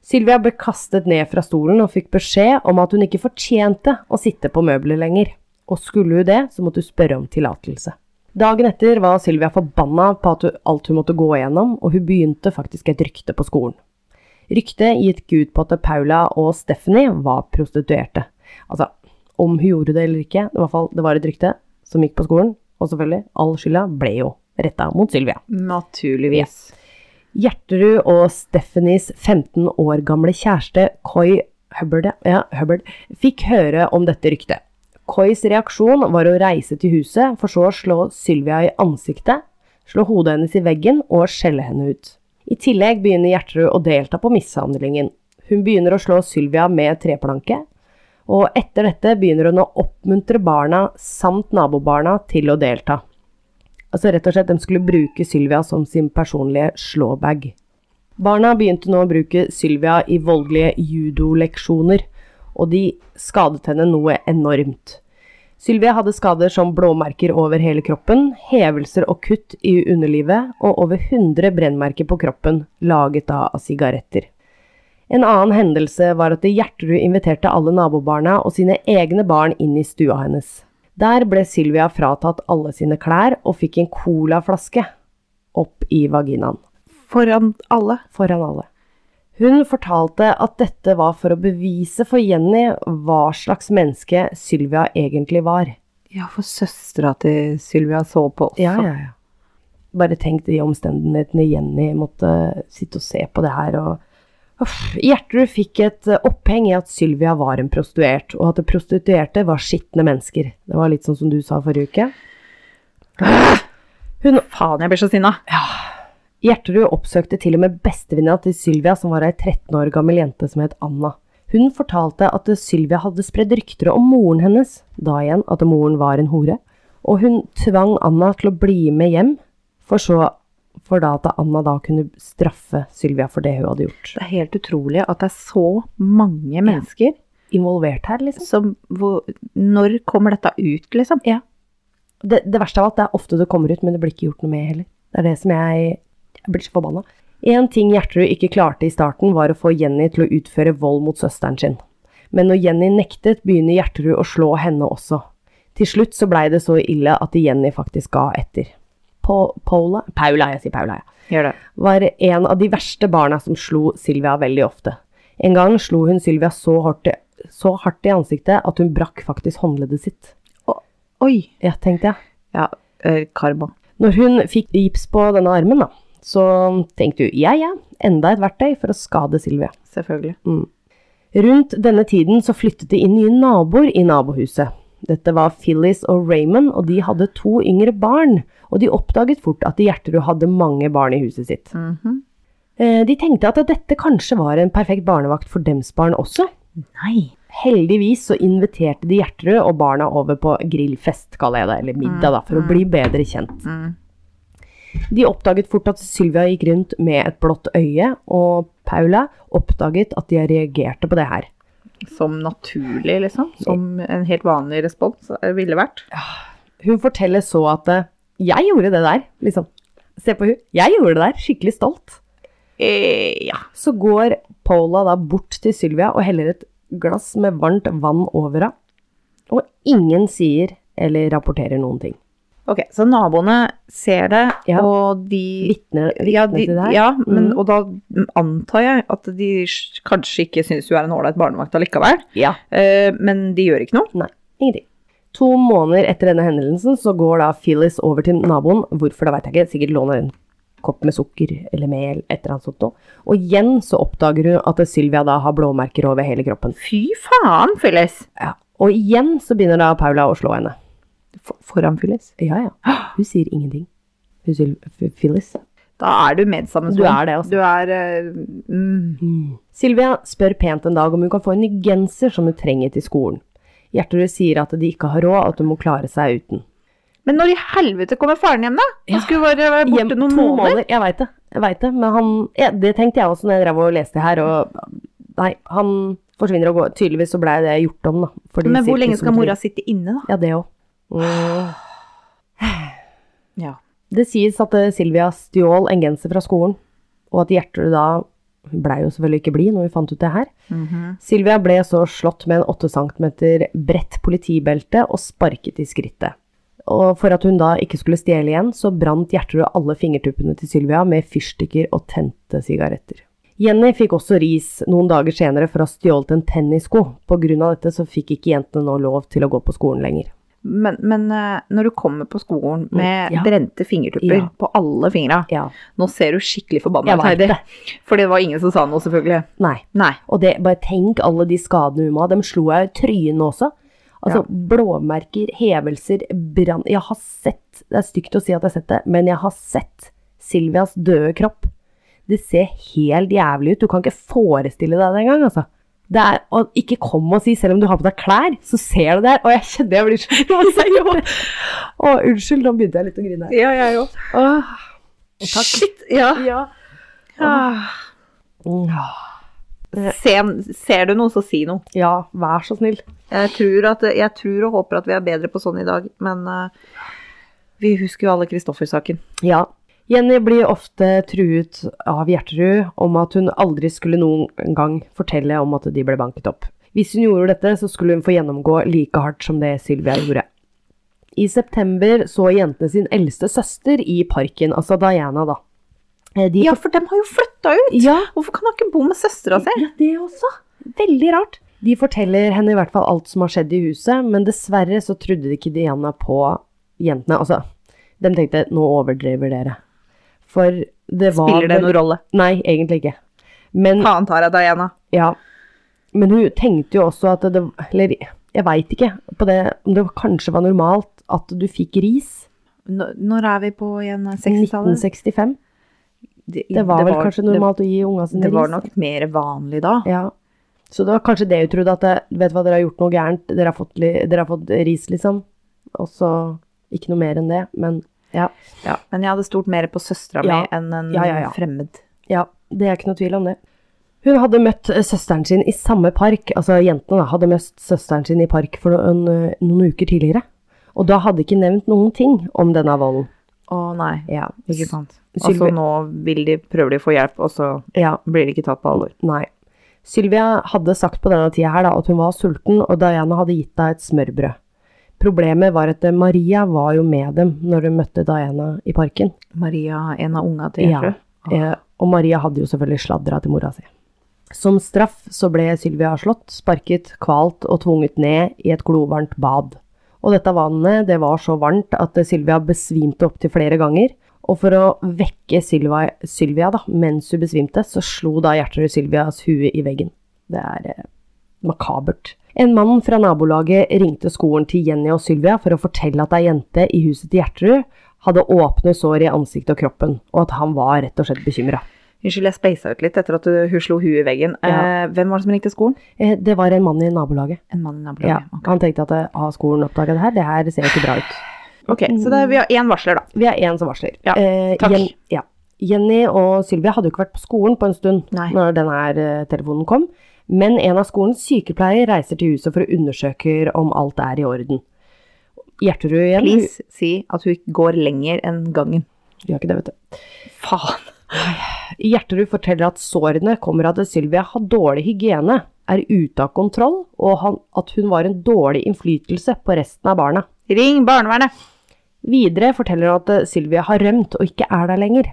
A: Sylvia ble kastet ned fra stolen og fikk beskjed om at hun ikke fortjente å sitte på møbler lenger. Og skulle hun det, så måtte hun spørre om tillatelse. Dagen etter var Sylvia forbanna på at hun, alt hun måtte gå igjennom, og hun begynte faktisk et rykte på skolen. Ryktet gikk ut på at Paula og Stephanie var prostituerte. Altså, om hun gjorde det eller ikke, det var, i hvert fall, det var et rykte som gikk på skolen, og selvfølgelig, all skylda ble jo retta mot Sylvia.
B: Naturligvis.
A: Gjerterud og Stephanies 15 år gamle kjæreste Coy Hubbard, ja, Hubbard fikk høre om dette ryktet. Coys reaksjon var å reise til huset, for så å slå Sylvia i ansiktet, slå hodet hennes i veggen og skjelle henne ut. I tillegg begynner Gjerterud å delta på mishandlingen. Hun begynner å slå Sylvia med treplanke, og etter dette begynner hun å oppmuntre barna samt nabobarna til å delta. Altså rett og slett, de skulle bruke Sylvia som sin personlige slåbag. Barna begynte nå å bruke Sylvia i voldelige judoleksjoner, og de skadet henne noe enormt. Sylvia hadde skader som blåmerker over hele kroppen, hevelser og kutt i underlivet, og over 100 brennmerker på kroppen, laget da av sigaretter. En annen hendelse var at Gjerterud inviterte alle nabobarna og sine egne barn inn i stua hennes. Der ble Sylvia fratatt alle sine klær og fikk en colaflaske opp i vaginaen
B: Foran alle.
A: foran alle. Hun fortalte at dette var for å bevise for Jenny hva slags menneske Sylvia egentlig var.
B: Ja, for søstera til Sylvia så på også.
A: ja. Bare tenk de omstendighetene Jenny måtte sitte og se på det her. Og... Uff, Gjertrud fikk et eh, oppheng i at Sylvia var en prostituert, og at det prostituerte var skitne mennesker. Det var litt sånn som du sa forrige uke. Hun
B: Faen, jeg blir så sinna.
A: Gjerterud oppsøkte til og med bestevenninna til Sylvia, som var ei 13 år gammel jente som het Anna. Hun fortalte at Sylvia hadde spredd rykter om moren hennes, da igjen at moren var en hore, og hun tvang Anna til å bli med hjem, for så for da at Anna da kunne straffe Sylvia for det hun hadde gjort.
B: Det er helt utrolig at det er så mange mennesker
A: Involvert her, liksom.
B: som hvor, Når kommer dette ut, liksom?
A: Ja. Det, det verste av alt, det er ofte det kommer ut, men det blir ikke gjort noe med heller. Det er det som jeg, jeg blir så forbanna. En ting Gjertrud ikke klarte i starten, var å få Jenny til å utføre vold mot søsteren sin. Men når Jenny nektet, begynner Gjertrud å slå henne også. Til slutt så blei det så ille at Jenny faktisk ga etter. Po Paula? Paula, jeg sier Paula, ja
B: Gjør det.
A: var en av de verste barna som slo Sylvia veldig ofte. En gang slo hun Sylvia så hardt, så hardt i ansiktet at hun brakk faktisk håndleddet sitt.
B: Oi.
A: Ja, tenkte jeg.
B: Ja, eh, karma.
A: Når hun fikk gips på denne armen, da, så tenkte hun ja, ja, enda et verktøy for å skade Silvia.
B: Selvfølgelig.
A: Rundt denne tiden så flyttet det inn nye naboer i nabohuset. Dette var Phyllis og Raymond, og de hadde to yngre barn. Og de oppdaget fort at Gjerterud hadde mange barn i huset sitt. Eh, De tenkte at dette kanskje var en perfekt barnevakt for dems barn også.
B: Nei.
A: Heldigvis så inviterte de Gjerterud og barna over på grillfest, kaller jeg det, eller middag, da, for å bli bedre kjent.
B: Mm.
A: De oppdaget fort at Sylvia gikk rundt med et blått øye, og Paula oppdaget at de reagerte på det her.
B: Som naturlig, liksom. Som en helt vanlig respons eh, ville vært.
A: Hun forteller så at eh, 'jeg gjorde det der', liksom. Se på hun. 'Jeg gjorde det der', skikkelig stolt.
B: Eh, ja.
A: Så går Paula da bort til Sylvia og heller et glass med varmt vann over henne. Og ingen sier eller rapporterer noen ting.
B: Ok, så naboene ser det,
A: Ja.
B: og de
A: Vitner, vitner
B: ja, de,
A: til det her?
B: ja, men,
A: Mm.
B: og da antar jeg at de s- kanskje ikke syns du er en ålreit barnevakt allikevel,
A: ja.
B: eh, men de gjør ikke noe.
A: Nei, ingenting. To måneder etter denne hendelsen så går da Phyllis over til naboen, hvorfor da veit jeg ikke, sikkert låner en kopp med sukker eller mel, et eller annet sånt noe. Og igjen så oppdager hun at Sylvia da har blåmerker over hele kroppen.
B: Fy faen, Phyllis!
A: Ja. Og igjen så begynner da Paula å slå henne.
B: For, foran Phyllis.
A: Ja, ja. Hun sier ingenting. Hun Syl- Phyllis.
B: Da er du medsammensvoren.
A: Du er det, altså.
B: Du er eh, mm.
A: Silvia spør pent en dag om hun kan få en ny genser som hun trenger til skolen. Gjertrud sier at de ikke har råd, og at hun må klare seg uten.
B: Men når i helvete kommer faren hjem, da? Han skulle bare være borte
A: Hjem-
B: noen
A: to
B: måneder.
A: Jeg veit det, jeg vet det, men han ja, Det tenkte jeg også når jeg drev og leste her, og Nei, han forsvinner og går. Tydeligvis så blei det gjort om, da. for de
B: Men hvor
A: sier
B: lenge
A: tusen
B: skal mora
A: ting.
B: sitte inne, da?
A: Ja, det òg. Mm.
B: Ja.
A: Det sies at eh, Silvia stjål en genser fra skolen, og at Gjertrud da Hun blei jo selvfølgelig ikke blid når vi fant ut det her.
B: Mhm.
A: Silvia ble så slått med en 8 cm bredt politibelte og sparket i skrittet. Og for at hun da ikke skulle stjele igjen, så brant Gjertrud alle fingertuppene til Sylvia med fyrstikker og tente sigaretter. Jenny fikk også ris noen dager senere for å ha stjålet en tennissko. På grunn av dette så fikk ikke jentene nå lov til å gå på skolen lenger.
B: Men, men eh, når du kommer på skolen med
A: ja.
B: brente fingertupper
A: Ja.
B: på alle fingra
A: Ja,
B: Nå ser du skikkelig forbanna
A: jeg
B: ut,
A: veit
B: Heidi.
A: det.
B: For det var ingen som sa noe, selvfølgelig.
A: Nei.
B: Nei.
A: Og det, bare tenk alle de skadene hun må ha. Dem slo jeg i trynet også. Altså blåmerker, hevelser, brann Jeg har sett, det er stygt å si at jeg har sett det, men jeg har sett Silvias døde kropp. Det ser helt jævlig ut. Du kan ikke forestille deg det engang, altså. Det er, og ikke kom og si, selv om du har på deg klær, så ser du det her. Og jeg kjenner jeg blir så Å, unnskyld, nå begynte jeg litt å grine.
B: Ja, jeg òg.
A: Åh,
B: Shit. Ja.
A: ja.
B: Ah.
A: Åh.
B: Se, ser du noe, så si noe.
A: ja, vær så snill.
B: Jeg tror, at, jeg tror og håper at vi er bedre på sånn i dag, men eh, vi husker jo alle Kristoffer-saken.
A: Ja. Jenny blir ofte truet av Gjertrud om at hun aldri skulle noen gang fortelle om at de ble banket opp. Hvis hun gjorde dette, så skulle hun få gjennomgå like hardt som det Sylvia gjorde. I september så jentene sin eldste søster i parken, altså Diana, da. Eh, De
B: Ja, for dem har jo flytta ut!
A: ja,
B: Hvorfor kan han ikke bo med søstera si?
A: ja, det også. Veldig rart. De forteller henne i hvert fall alt som har skjedd i huset, men dessverre så trodde ikke Diana på jentene. Altså, de tenkte nå overdriver dere. For det var
B: Spiller det
A: vel-
B: noen rolle?
A: Nei, egentlig ikke. Men,
B: Faen tar jeg Diana.
A: ja. men hun tenkte jo også at det Eller jeg veit ikke på det, om det kanskje var normalt at du fikk ris.
B: Nå- Når er vi på igjen? 60-tallet?
A: 1965. Det var vel kanskje normalt å gi unga
B: Det,
A: sine
B: det var
A: ris.
B: nok mer vanlig da.
A: Ja. Så det var kanskje det hun trodde, at det, vet du hva, dere har gjort noe gærent, dere har fått, li, dere har fått ris, liksom. Og så ikke noe mer enn det, men ja.
B: Ja. Men jeg hadde stolt mer på søstera mi
A: Ja.
B: enn en
A: Ja, ja, ja.
B: fremmed.
A: Ja, det er ikke noe tvil om det. Hun hadde møtt eh, søsteren sin i samme park, altså jentene da, hadde møtt søsteren sin i park for noen, eh, noen uker tidligere. Og da hadde ikke nevnt noen ting om denne volden.
B: Å nei,
A: Ja,
B: ikke sant.
A: Sylvi-
B: Altså nå vil de, prøver de å få hjelp, og så
A: Ja,
B: blir de ikke tatt på alvor.
A: nei. Sylvia hadde sagt på denne tida her da, at hun var sulten, og Diana hadde gitt deg et smørbrød. Problemet var at eh, Maria var jo med dem når hun møtte Diana i parken.
B: Maria, en av unga til Gjertrud.
A: Ja. Eh, og Maria hadde jo selvfølgelig sladra til mora si. Som straff så ble Sylvia slått, sparket, kvalt og tvunget ned i et glovarmt bad. Og dette vannet det var så varmt at Sylvia besvimte opptil flere ganger. Og for å vekke Sylvia, Sylvia da, mens hun besvimte, så slo da Gjertrud Sylvias hue i veggen. Det er eh, makabert. En mann fra nabolaget ringte skolen til Jenny og Sylvia for å fortelle at ei jente i huset til Gjertrud hadde åpne sår i ansiktet og kroppen, og at han var rett og slett bekymra.
B: Unnskyld, jeg speisa ut litt etter at du- hun slo huet i veggen.
A: Ja.
B: Eh, hvem var det som ringte skolen?
A: Eh, Det var en mann i nabolaget.
B: En mann i
A: Ja,
B: nabolaget.
A: han tenkte at eh, har skolen oppdaga det her? Det her ser jo ikke bra ut.
B: Ok, så det, vi har én varsler, da.
A: Vi er én som varsler.
B: Ja,
A: Eh,
B: takk.
A: Jen, ja. Jenny og Sylvia hadde jo ikke vært på skolen på en stund
B: Nei.
A: når denne her eh, telefonen kom, men en av skolens sykepleiere reiser til huset for å undersøke om alt er i orden. Gjerterud igjen. hun-
B: Please si at hun går lenger enn gangen.
A: Gjør ikke det, vet du.
B: Faen.
A: Gjerterud forteller at sårene kommer av at Sylvia har dårlig hygiene, er ute av kontroll, og han, at hun var en dårlig innflytelse på resten av barna.
B: Ring barnevernet!
A: Videre forteller hun at eh, Sylvia har rømt og ikke er der lenger.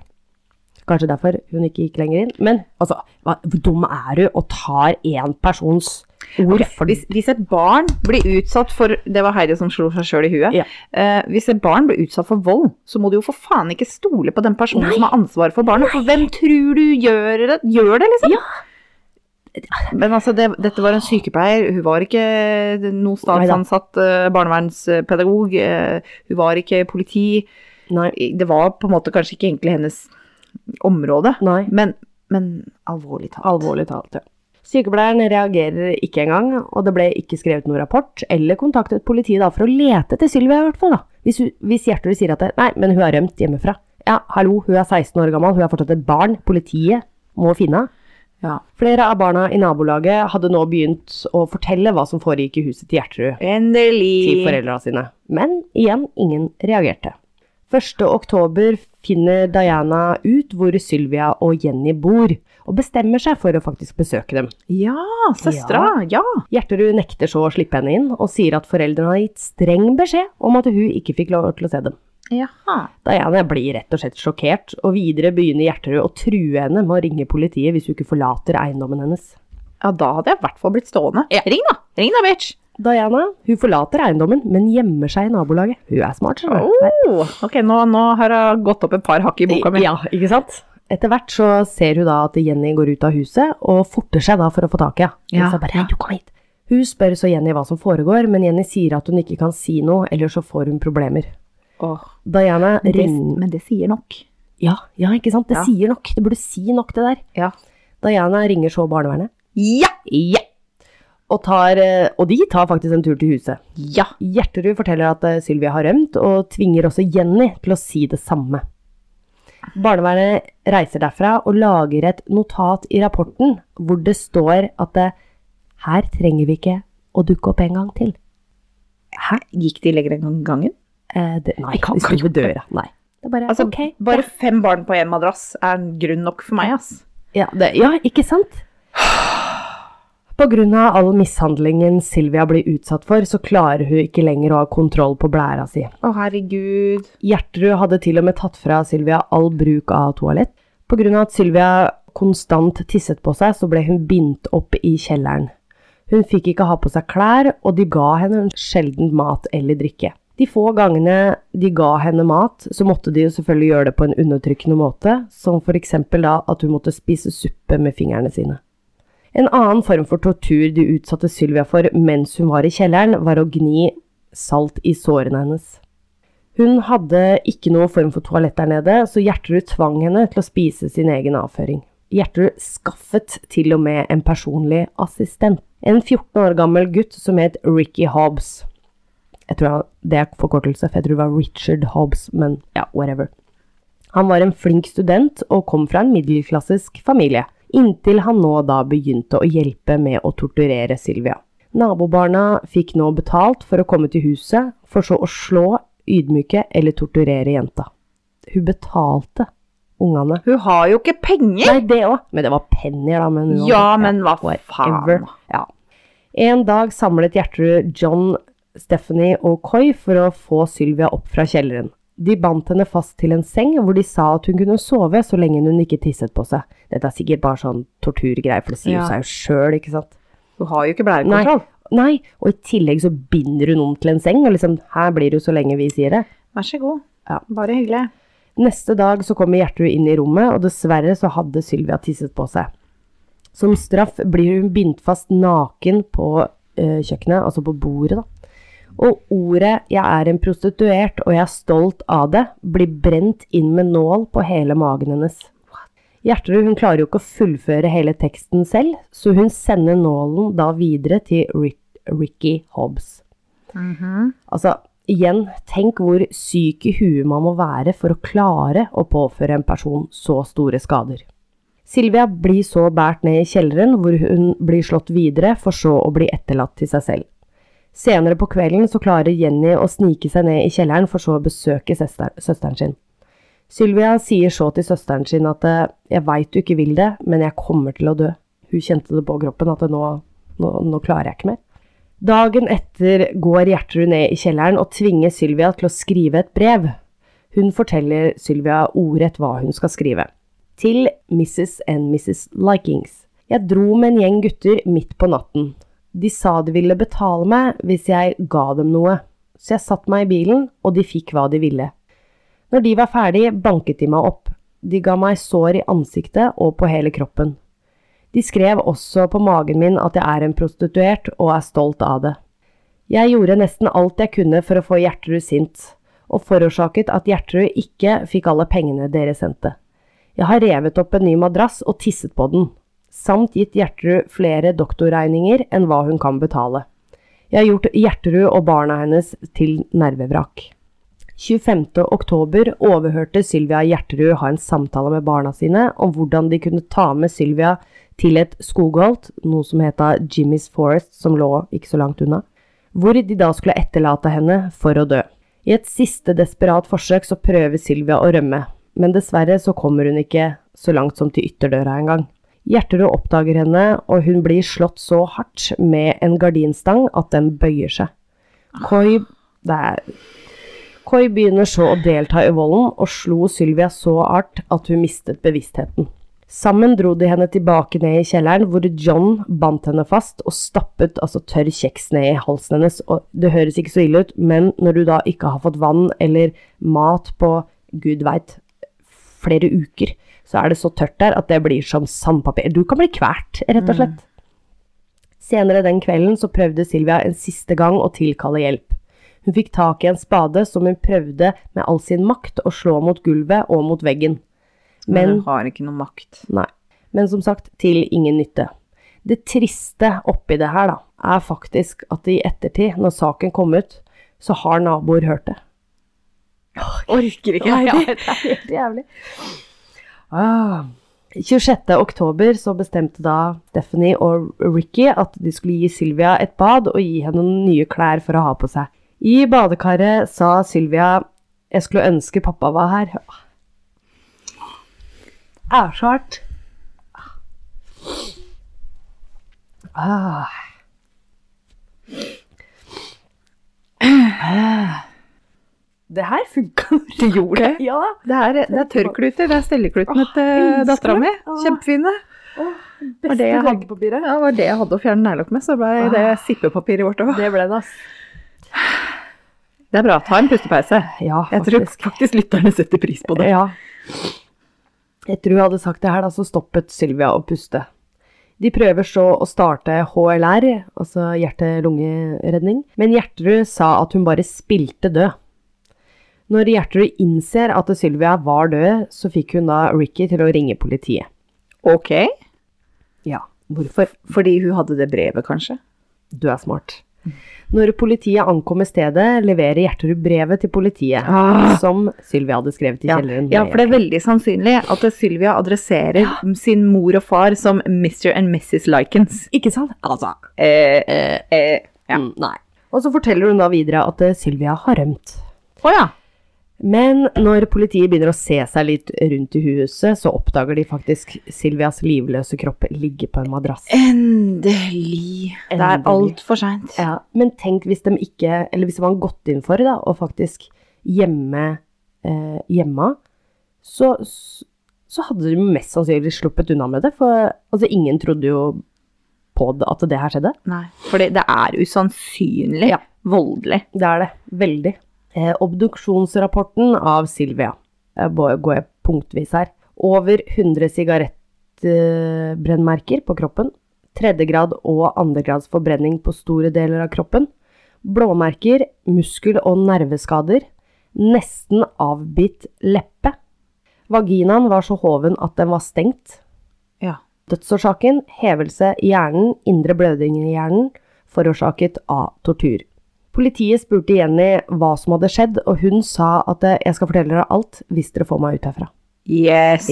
A: Kanskje derfor hun ikke gikk lenger inn. Men altså, hva, hvor dum er du og tar én persons ord? for
B: Hvis, hvis et barn blir utsatt for Det var Heidi som slo seg sjøl i huet.
A: Ja.
B: Eh, hvis et barn blir utsatt for vold, så må du jo for faen ikke stole på den personen som har ansvaret for barnet. For hvem tror du gjør det, gjør det liksom? Men altså, det, dette var en sykepleier. Hun var ikke noen statsansatt eh, barnevernspedagog. eh, hun var ikke politi.
A: Nei,
B: Det var på en måte kanskje ikke egentlig hennes område.
A: Nei.
B: Men, men alvorlig talt.
A: Alvorlig talt, ja. Sykepleieren reagerer ikke engang, og det ble ikke skrevet noen rapport eller kontaktet politiet da for å lete etter Sylvia i hvert fall. da. Hvis, hun- hvis Gjertrud sier at det, nei, men hun er rømt hjemmefra. Ja, hallo, hun er 16 år gammel, hun er fortsatt et barn. Politiet må finne henne.
B: Ja.
A: Flere av barna i nabolaget hadde nå begynt å fortelle hva som foregikk i huset til Gjertrud til
B: Endelig.
A: foreldrene sine. Men igjen, ingen reagerte. 1. oktober finner Diana ut hvor Sylvia og Jenny bor, og bestemmer seg for å faktisk besøke dem.
B: Ja, søstera. Ja.
A: Gjerterud nekter så å slippe henne inn, og sier at foreldrene har gitt streng beskjed om at hun ikke fikk lov til å se dem.
B: Jaha.
A: Diana blir rett og slett sjokkert, og videre begynner Gjerterud å true henne med å ringe politiet hvis hun ikke forlater eiendommen hennes.
B: Ja, da hadde jeg i hvert fall blitt stående. Ring, da! Ring, da, bitch!
A: Diana hun forlater eiendommen, men gjemmer seg i nabolaget. Hun er smart, skjønner du.
B: Oh, ok, nå, nå har jeg gått opp et par hakk i boka mi.
A: Ja, ikke sant? Etter hvert så ser hun da at Jenny går ut av huset, og forter seg da for å få tak i henne.
B: Ja,
A: Så bare,
B: ja.
A: du kom hit. Hun spør så Jenny hva som foregår, men Jenny sier at hun ikke kan si noe, ellers så får hun problemer.
B: Åh,
A: Diana
B: men det,
A: ringer
B: men det sier nok.
A: ja, ja, ikke sant? Det
B: Ja.
A: sier nok. Det burde si nok, det der.
B: Ja.
A: Diana ringer så barnevernet.
B: Ja!
A: Ja! Og, tar, eh, og de tar faktisk en tur til huset.
B: Ja!
A: Gjerterud forteller at eh, Sylvia har rømt, og tvinger også Jenny til å si det samme. Barnevernet reiser derfra og lager et notat i rapporten hvor det står at eh, her trenger vi ikke å dukke opp en gang til.
B: Hæ? Gikk de lenger enn gangen?
A: Eh, det, nei,
B: Vi kan
A: det står
B: ikke
A: ved
B: gjøre
A: døra. Nei. Det er bare,
B: Altså,
A: ok,
B: bare fem barn på én madrass er grunn nok for meg, ass.
A: Ja, det, ja, ikke sant? På grunn av all mishandlingen Silvia blir utsatt for, så klarer hun ikke lenger å ha kontroll på blæra si.
B: Å, herregud.
A: Gjertrud hadde til og med tatt fra Silvia all bruk av toalett. På grunn av at Silvia konstant tisset på seg, så ble hun bindt opp i kjelleren. Hun fikk ikke ha på seg klær, og de ga henne sjelden mat eller drikke. De få gangene de ga henne mat, så måtte de jo selvfølgelig gjøre det på en undertrykkende måte, som for eksempel da at hun måtte spise suppe med fingrene sine. En annen form for tortur de utsatte Sylvia for mens hun var i kjelleren, var å gni salt i sårene hennes. Hun hadde ikke noe form for toalett der nede, så Gjertrud tvang henne til å spise sin egen avføring. Gjertrud skaffet til og med en personlig assistent. En 14 år gammel gutt som het Ricky Hobbs. Jeg tror han, Det er forkortelse, for jeg tror det var Richard Hobbs, men ja, whatever. Han var en flink student og kom fra en middelklassisk familie, inntil han nå da begynte å hjelpe med å torturere Sylvia. Nabobarna fikk nå betalt for å komme til huset, for så å slå, ydmyke eller torturere jenta. Hun betalte ungene.
B: Hun har jo ikke penger!
A: Nei, det òg. Men det var penner, da. Men uansett,
B: Ja, men hva
A: whatever.
B: Ah, faen?
A: Ja. En dag samlet Gjertrud John, Stephanie og Coy for å få Sylvia opp fra kjelleren. De bandt henne fast til en seng hvor de sa at hun kunne sove så lenge hun ikke tisset på seg. Dette er sikkert bare sånn torturgreier, for det sier
B: Ja.
A: hun seg jo sjøl, ikke sant?
B: Hun har jo ikke
A: Nei,
B: blærekontroll.
A: nei, og i tillegg så binder hun om til en seng, og liksom her blir du så lenge vi sier det.
B: Vær så god.
A: Ja.
B: Bare hyggelig.
A: Neste dag så kommer Gjertrud inn i rommet, og dessverre så hadde Sylvia tisset på seg. Som straff blir hun bindt fast naken på eh, kjøkkenet, altså på bordet, da. Og ordet 'jeg er en prostituert og jeg er stolt av det' blir brent inn med nål på hele magen hennes. Gjertrud hun klarer jo ikke å fullføre hele teksten selv, så hun sender nålen da videre til Rick, Ricky Hobbs. Altså, igjen, tenk hvor syk i huet man må være for å klare å påføre en person så store skader. Silvia blir så båret ned i kjelleren, hvor hun blir slått videre, for så å bli etterlatt til seg selv. Senere på kvelden så klarer Jenny å snike seg ned i kjelleren, for så å besøke søster, søsteren sin. Sylvia sier så til søsteren sin at eh, 'jeg veit du ikke vil det, men jeg kommer til å dø'. Hun kjente det på kroppen at nå, nå, nå klarer jeg ikke mer. Dagen etter går Gjertrud ned i kjelleren og tvinger Sylvia til å skrive et brev. Hun forteller Sylvia ordrett hva hun skal skrive. Til Mrs. and Mrs. Likings. Jeg dro med en gjeng gutter midt på natten. De sa de ville betale meg hvis jeg ga dem noe. Så jeg satt meg i bilen, og de fikk hva de ville. Når de var ferdig, banket de meg opp. De ga meg sår i ansiktet og på hele kroppen. De skrev også på magen min at jeg er en prostituert og er stolt av det. Jeg gjorde nesten alt jeg kunne for å få Gjertrud sint, og forårsaket at Gjertrud ikke fikk alle pengene dere sendte. Jeg har revet opp en ny madrass og tisset på den, samt gitt Gjertrud flere doktorregninger enn hva hun kan betale. Jeg har gjort Gjertrud og barna hennes til nervevrak. 25. oktober overhørte Sylvia Gjerterud ha en samtale med barna sine om hvordan de kunne ta med Sylvia til et skogholt, noe som heta Jimmy's Forest, som lå ikke så langt unna, hvor de da skulle etterlate henne for å dø. I et siste desperat forsøk så prøver Sylvia å rømme, men dessverre så kommer hun ikke så langt som til ytterdøra engang. Gjerterud oppdager henne, og hun blir slått så hardt med en gardinstang at den bøyer seg. Koi Det er Koi begynner så å delta i volden og slo Sylvia så hardt at hun mistet bevisstheten. Sammen dro de henne tilbake ned i kjelleren, hvor John bandt henne fast og stappet altså tørr kjeks ned i halsen hennes. Og det høres ikke så ille ut, men når du da ikke har fått vann eller mat på gud veit flere uker, så er det så tørt der at det blir som sandpapir. Du kan bli kvært, rett og slett. Senere den kvelden så prøvde Silvia en siste gang å tilkalle hjelp. Hun fikk tak i en spade som hun prøvde med all sin makt å slå mot gulvet og mot veggen.
B: Men
A: Men
B: hun har ikke noe makt.
A: Nei. Men som sagt, til ingen nytte. Det triste oppi det her, da, er faktisk at i ettertid, når saken kom ut, så har naboer hørt det.
B: Orker ikke.
A: Nei,
B: Ja,
A: det er helt jævlig. Ah. 26. oktober så bestemte da Stephanie og Ricky at de skulle gi Sylvia et bad og gi henne noen nye klær for å ha på seg. I badekaret sa Sylvia jeg skulle ønske pappa var her. Ah. Er så hardt. Ah. Ah. Det her funka
B: Du gjorde det.
A: ja da.
B: Det er, det er tørrkluter. Det er stelleklutene
A: Åh,
B: til
A: elsker
B: dattera mi.
A: det. Åh.
B: Kjempefine.
A: Beste
B: det jeg hadde.
A: fargepapiret.
B: Ja, det var det jeg hadde å fjerne neglelokk med, så ble det sippepapiret vårt òg.
A: Det ble det, ass.
B: Det er bra. Ta en pustepause.
A: Ja,
B: Jeg tror faktisk lytterne setter pris på det.
A: Ja. Etter hun hadde sagt det her, da, så stoppet Sylvia å puste. De prøver så å starte HLR, altså hjerte-lunge-redning, men Gjertrud sa at hun bare spilte død. Når Gjertrud innser at Sylvia var død, så fikk hun da Ricky til å ringe politiet.
B: Ok.
A: Ja, hvorfor?
B: Fordi hun hadde det brevet, kanskje?
A: Du er smart. Når politiet ankommer stedet, leverer Gjertrud brevet til politiet,
B: Ah.
A: som Sylvia hadde skrevet i
B: Ja.
A: kjelleren.
B: ja,
A: med
B: for det er veldig sannsynlig at Sylvia adresserer sin mor og far som Mr. and Mrs. Likens.
A: Ikke sant? Altså,
B: Eh, eh, ja.
A: mm, nei. Og så forteller hun da videre at eh, Sylvia har rømt.
B: Å ja.
A: Men når politiet begynner å se seg litt rundt i huset, så oppdager de faktisk Sylvias livløse kropp ligge på en madrass.
B: Endelig. Det er
A: Endelig.
B: altfor seint.
A: Ja, men tenk hvis de ikke, eller hvis de har gått inn for da, og faktisk hjemme, eh, hjemme, så, så hadde de mest sannsynlig sluppet unna med det, for altså, ingen trodde jo på det, at det her skjedde.
B: Nei, fordi det er usannsynlig
A: Ja.
B: voldelig.
A: Det er det, veldig. Eh, obduksjonsrapporten av Silvia, eh, bå- går jeg punktvis her, over 100 sigarettbrennmerker på kroppen, tredjegrad og andregrads forbrenning på store deler av kroppen, blåmerker, muskel- og nerveskader, nesten avbitt leppe. Vaginaen var så hoven at den var stengt.
B: Ja.
A: Dødsårsaken hevelse i hjernen, indre blødning i hjernen, forårsaket av tortur. Politiet spurte Jenny hva som hadde skjedd, og hun sa at eh, jeg skal fortelle dere alt hvis dere får meg ut herfra.
B: Yes.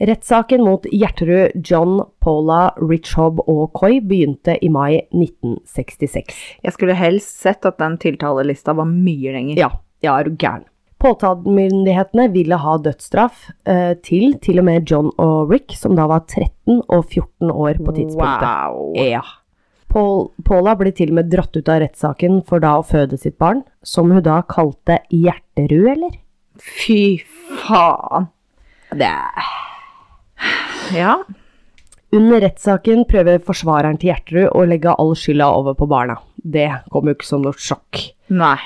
A: Rettssaken mot Gjerterud, John, Paula, Rich Hobb og Coy begynte i mai 1966.
B: Jeg skulle helst sett at den tiltalelista var mye lenger.
A: Ja, ja, er du gæren. Påtalemyndighetene ville ha dødsstraff eh, til til og med John og Rick, som da var 13 og 14 år på tidspunktet.
B: Wow.
A: Ja. Paul, Paula ble til og med dratt ut av rettssaken for da å føde sitt barn, som hun da kalte Hjerterud, eller?
B: Fy faen.
A: Det
B: Ja.
A: Under rettssaken prøver forsvareren til Gjerterud å legge all skylda over på barna. Det kom jo ikke som noe sjokk.
B: Nei.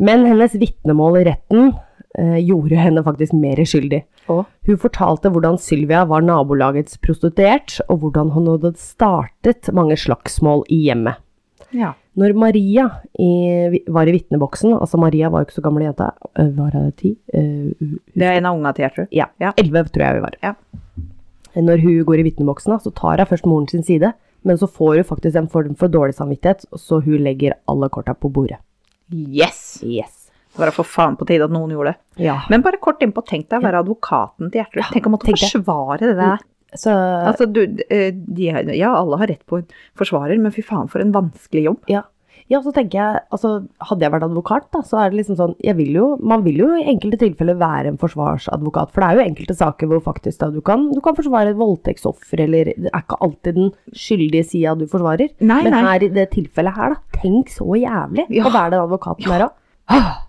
A: Men hennes vitnemål i retten eh, gjorde henne faktisk mer skyldig.
B: Å?
A: Hun fortalte hvordan Sylvia var nabolagets prostituert, og hvordan hun hadde startet mange slagsmål i hjemmet.
B: Ja.
A: Når Maria i, var i vitneboksen, altså Maria var jo ikke så gammel jente, øh, var hun ti? Øh,
B: Det er en av unga til, jeg tror.
A: Ja.
B: Ja.
A: 11 tror jeg vi var.
B: Ja.
A: Når hun går i vitneboksen, da, så tar hun først moren sin side, men så får hun faktisk en form for dårlig samvittighet, så hun legger alle korta på bordet.
B: Yes!
A: Yes.
B: Det var da for faen på tide at noen gjorde det.
A: Ja.
B: Men bare kort innpå, tenk deg å være advokaten til Gjertrud. Tenk å måtte
A: tenk det. Mm.
B: forsvare det der.
A: Så,
B: Altså, du, eh, de, er- ja, alle har rett på en forsvarer, men fy faen for en vanskelig jobb.
A: ja. ja, så tenker jeg, altså, hadde jeg vært advokat, da, så er det liksom sånn, jeg vil jo, man vil jo i enkelte tilfeller være en forsvarsadvokat, for det er jo enkelte saker hvor faktisk da du kan, du kan forsvare et voldtektsoffer, eller det er ikke alltid den skyldige siden du forsvarer.
B: Nei,
A: Men
B: nei.
A: her i det tilfellet her, da, tenk så jævlig
B: Ja.
A: å være den advokaten der òg.
B: Ah,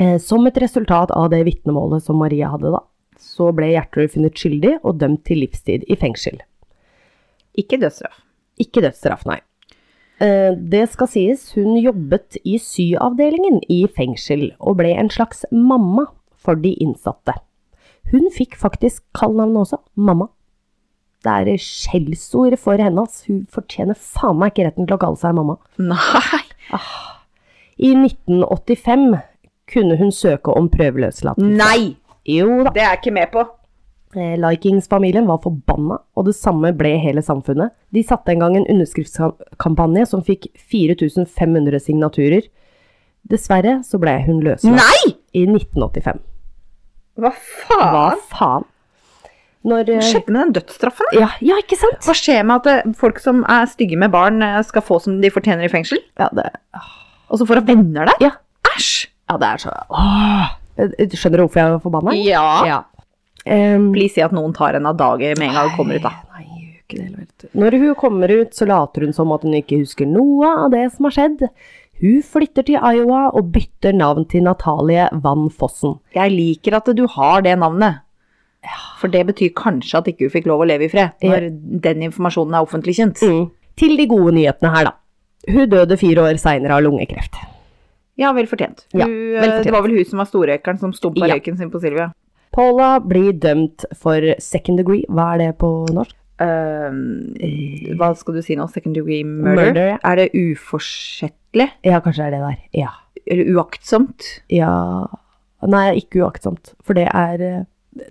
A: Eh, Som et resultat av det vitnemålet som Maria hadde, da, så ble Gjertrud funnet skyldig og dømt til livstid i fengsel.
B: Ikke dødsstraff.
A: Ikke dødsstraff, nei. Eh, Det skal sies, hun jobbet i syavdelingen i fengsel og ble en slags mamma for de innsatte. Hun fikk faktisk kallenavnet også, mamma. Det er skjellsord for henne, ass. Hun fortjener faen meg ikke retten til å kalle seg mamma.
B: Nei!
A: I 1985 kunne hun søke om prøveløslatelse.
B: Nei!
A: Jo da.
B: Det er jeg ikke med på.
A: Eh, Likings-familien var forbanna, og det samme ble hele samfunnet. De satte en gang en underskriftskampanje som fikk 4500 signaturer. Dessverre så ble hun løslatt
B: Nei!
A: i 1985.
B: Hva
A: Hva
B: faen?
A: faen? Når
B: Hva
A: eh,
B: skjedde med den dødsstraffen? da?
A: ja, ja, ikke sant?
B: Hva skjer med at eh, folk som er stygge med barn, eh, skal få som de fortjener i fengsel?
A: Ja, det,
B: Og så får hun venner der?
A: Ja.
B: Æsj!
A: ja, det er så Åh! Eh, Skjønner du hvorfor jeg var forbanna?
B: Ja.
A: ja. Em,
B: Please si at noen tar henne av dage med en gang hun kommer ut, da.
A: Nei, jeg gjør ikke det heller, vet du. Når hun kommer ut, så later hun som at hun ikke husker noe av det som har skjedd. Hun flytter til Iowa og bytter navn til Natalie Van Fossen.
B: Jeg liker at du har det navnet. For det betyr kanskje at ikke hun fikk lov å leve i fred,
A: Ja.
B: når den informasjonen er offentlig kjent.
A: Til de gode nyhetene her, da. Hun døde fire år seinere av lungekreft.
B: Ja, vel fortjent.
A: Ja,
B: hun, eh,
A: vel fortjent.
B: Det var vel hun som var storrøykeren som stumpa
A: Ja.
B: røyken sin på Silvia.
A: Paula blir dømt for second degree. Hva er det på norsk?
B: Eh, hva skal du si nå? Second degree murder?
A: Murder, ja.
B: Er det uforsettlig?
A: Ja, kanskje det er det der. Ja.
B: Eller uaktsomt?
A: ja. Nei, ikke uaktsomt. For det er, eh,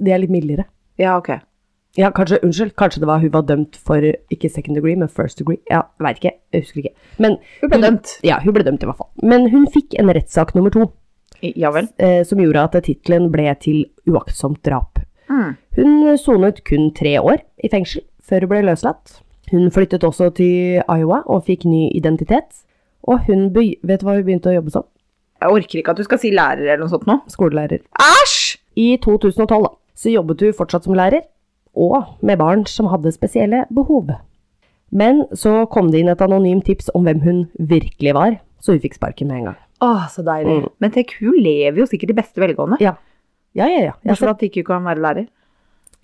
A: det er litt mildere.
B: Ja, ok.
A: Ja, kanskje, unnskyld, kanskje det var hun var dømt for ikke second degree, men first degree. Ja, veit ikke, jeg husker ikke. Men
B: Hun ble dømt.
A: Ja, hun ble dømt i hvert fall. Men hun fikk en rettssak nummer to,
B: I- Ja vel.
A: eh, som gjorde at tittelen ble til uaktsomt drap.
B: Mm.
A: Hun eh, sonet kun tre år i fengsel før hun ble løslatt. Hun flyttet også til Iowa og fikk ny identitet. Og hun be vet du hva hun begynte å jobbe som?
B: Jeg orker ikke at du skal si lærer eller noe sånt nå.
A: Skolelærer.
B: Æsj!
A: I 2012 da, så jobbet hun fortsatt som lærer, og med barn som hadde spesielle behov. Men så kom det inn et anonymt tips om hvem hun virkelig var, så hun fikk sparken med en gang.
B: Å, så deilig. Men tenk, hun lever jo sikkert i beste velgående.
A: Ja, ja, ja. ja. Jeg har
B: Bortsett fra at ikke hun kan være lærer.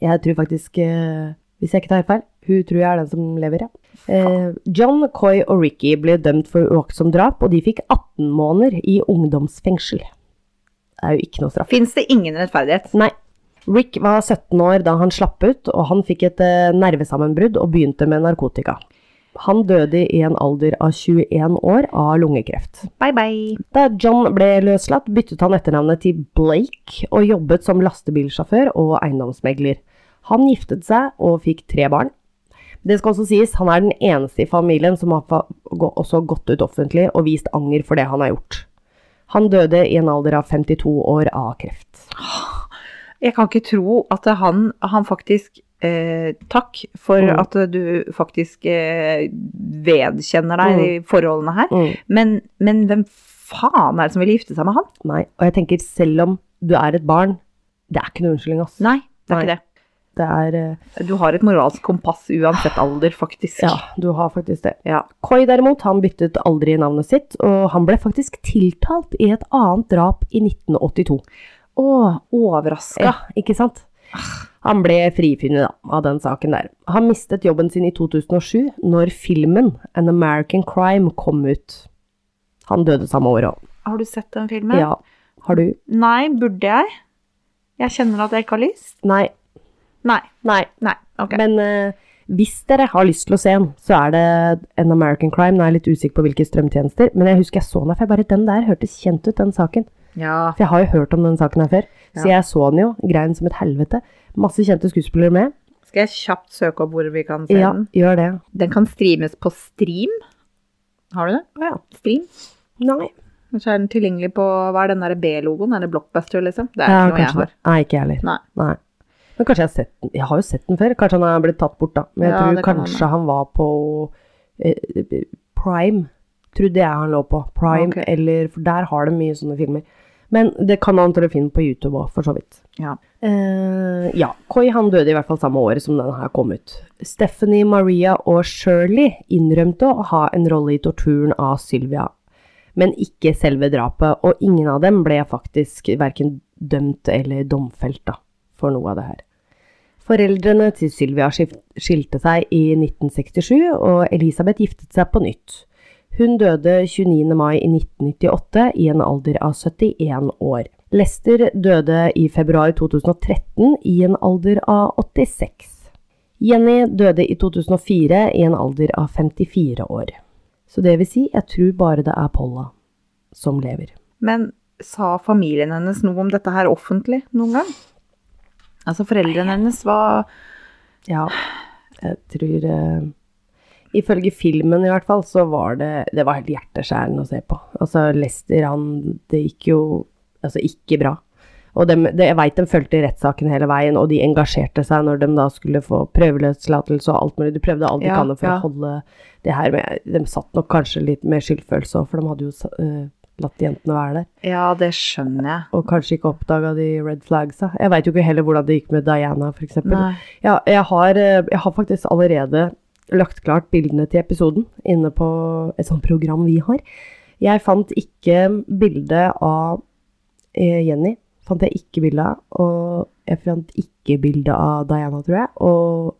A: Jeg tror faktisk, eh, hvis jeg ikke tar feil, hun tror jeg er den som lever, ja. Eh, John, Coy og Ricky ble dømt for uaktsomt drap, og de fikk 18 måneder i ungdomsfengsel. Det er jo ikke noe straff.
B: Fins det ingen rettferdighet?
A: Nei. Rick var 17 år da han slapp ut, og han fikk et eh, nervesammenbrudd og begynte med narkotika. Han døde i en alder av 21 år av lungekreft.
B: Bye, bye.
A: Da John ble løslatt, byttet han etternavnet til Blake og jobbet som lastebilsjåfør og eiendomsmegler. Han giftet seg og fikk tre barn. Det skal også sies, han er den eneste i familien som har fa- gå- også gått ut offentlig og vist anger for det han har gjort. Han døde i en alder av 52 år av kreft.
B: Jeg kan ikke tro at han, han faktisk eh, Takk for
A: Mm.
B: at du faktisk eh, vedkjenner deg de forholdene her.
A: Mm.
B: Men, men hvem faen er det som vil gifte seg med han?
A: Nei, og jeg tenker selv om du er et barn, det er ikke noe unnskyldning, ass.
B: Nei, det er
A: Nei.
B: ikke det.
A: Det er, eh,
B: Du har et moralsk kompass uansett alder, faktisk.
A: ja, du har faktisk det.
B: Ja.
A: Coy derimot, han byttet aldri navnet sitt, og han ble faktisk tiltalt i et annet drap i 1982.
B: Å, overraska.
A: Ja, ikke sant? Han ble frifunnet da, av den saken der. Han mistet jobben sin i 2007, når filmen An American Crime kom ut. Han døde samme år òg.
B: Har du sett den filmen?
A: Ja. Har du?
B: Nei, burde jeg? Jeg kjenner at jeg ikke har lyst.
A: Nei.
B: Nei.
A: Nei.
B: Nei, ok.
A: Men eh, Hvis dere har lyst til å se den, så er det en American Crime. Nå er jeg litt usikker på hvilke strømtjenester, men jeg husker jeg så den her, for jeg bare Den der hørtes kjent ut, den saken.
B: Ja.
A: For jeg har jo hørt om den saken her før. Så jeg så den jo. Grein som et helvete. Masse kjente skuespillere med.
B: Skal jeg kjapt søke opp hvor vi kan se
A: Ja,
B: den?
A: gjør det.
B: Den kan streames på Stream. Har du det?
A: Ja.
B: Stream?
A: Nei.
B: Og så er den tilgjengelig på Hva er den der B-logoen? Er det Blockbuster, liksom? Det er
A: Ja,
B: ikke noe jeg
A: kanskje
B: har.
A: det. Nei, ikke jeg heller.
B: Nei.
A: Nei. Men kanskje jeg har sett den. Jeg har jo sett den før. Kanskje han har blitt tatt bort, da. Men jeg
B: Ja, det
A: tror
B: kan
A: kanskje han var på eh, Prime. Trodde jeg han lå på. Prime
B: Ok.
A: eller For der har de mye sånne filmer. Men det kan han til å finne på YouTube òg, for så vidt.
B: Ja.
A: Eh, ja. Koi han døde i hvert fall samme året som den her kom ut. Stephanie, Maria og Shirley innrømte å ha en rolle i torturen av Sylvia, men ikke selve drapet, og ingen av dem ble faktisk verken dømt eller domfelt da, for noe av det her. Foreldrene til Sylvia skif- skilte seg i 1967, og Elisabeth giftet seg på nytt. Hun døde 29. mai i 1998 i en alder av 71 år. Lester døde i februar 2013 i en alder av 86. Jenny døde i 2004 i en alder av 54 år. Så det vil si, jeg tror bare det er Polla som lever.
B: Men sa familien hennes noe om dette her offentlig noen gang? Altså foreldrene hennes var
A: Ja, jeg tror eh, Ifølge filmen i hvert fall, så var det Det var helt hjerteskjærende å se på. Altså, Lester, han Det gikk jo altså ikke bra. Og dem, det, jeg veit de fulgte rettssaken hele veien, og de engasjerte seg når de da skulle få prøveløslatelse og alt mulig. De prøvde alt de
B: Ja,
A: kan for
B: ja.
A: å holde det her med De satt nok kanskje litt med skyldfølelse òg, for de hadde jo sa- eh, latt jentene være der.
B: Ja, det skjønner jeg.
A: Og kanskje ikke oppdaga de red flagsa. Jeg veit jo ikke heller hvordan det gikk med Diana, f.eks.
B: Nei.
A: Ja, jeg har, eh, jeg har faktisk allerede lagt klart bildene til episoden inne på et sånt program vi har. Jeg fant ikke bildet av eh, Jenny. Fant jeg ikke bildet av. Og jeg fant ikke bildet av Diana, tror jeg. Og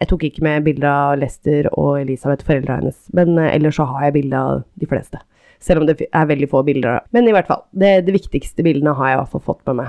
A: jeg tok ikke med bildet av Lester og Elisabeth, foreldra hennes. Men eh, ellers så har jeg bilde av de fleste. Selv om det fi- er veldig få bilder. da. Men i hvert fall, det, det viktigste bildene har jeg i hvert fall fått med meg.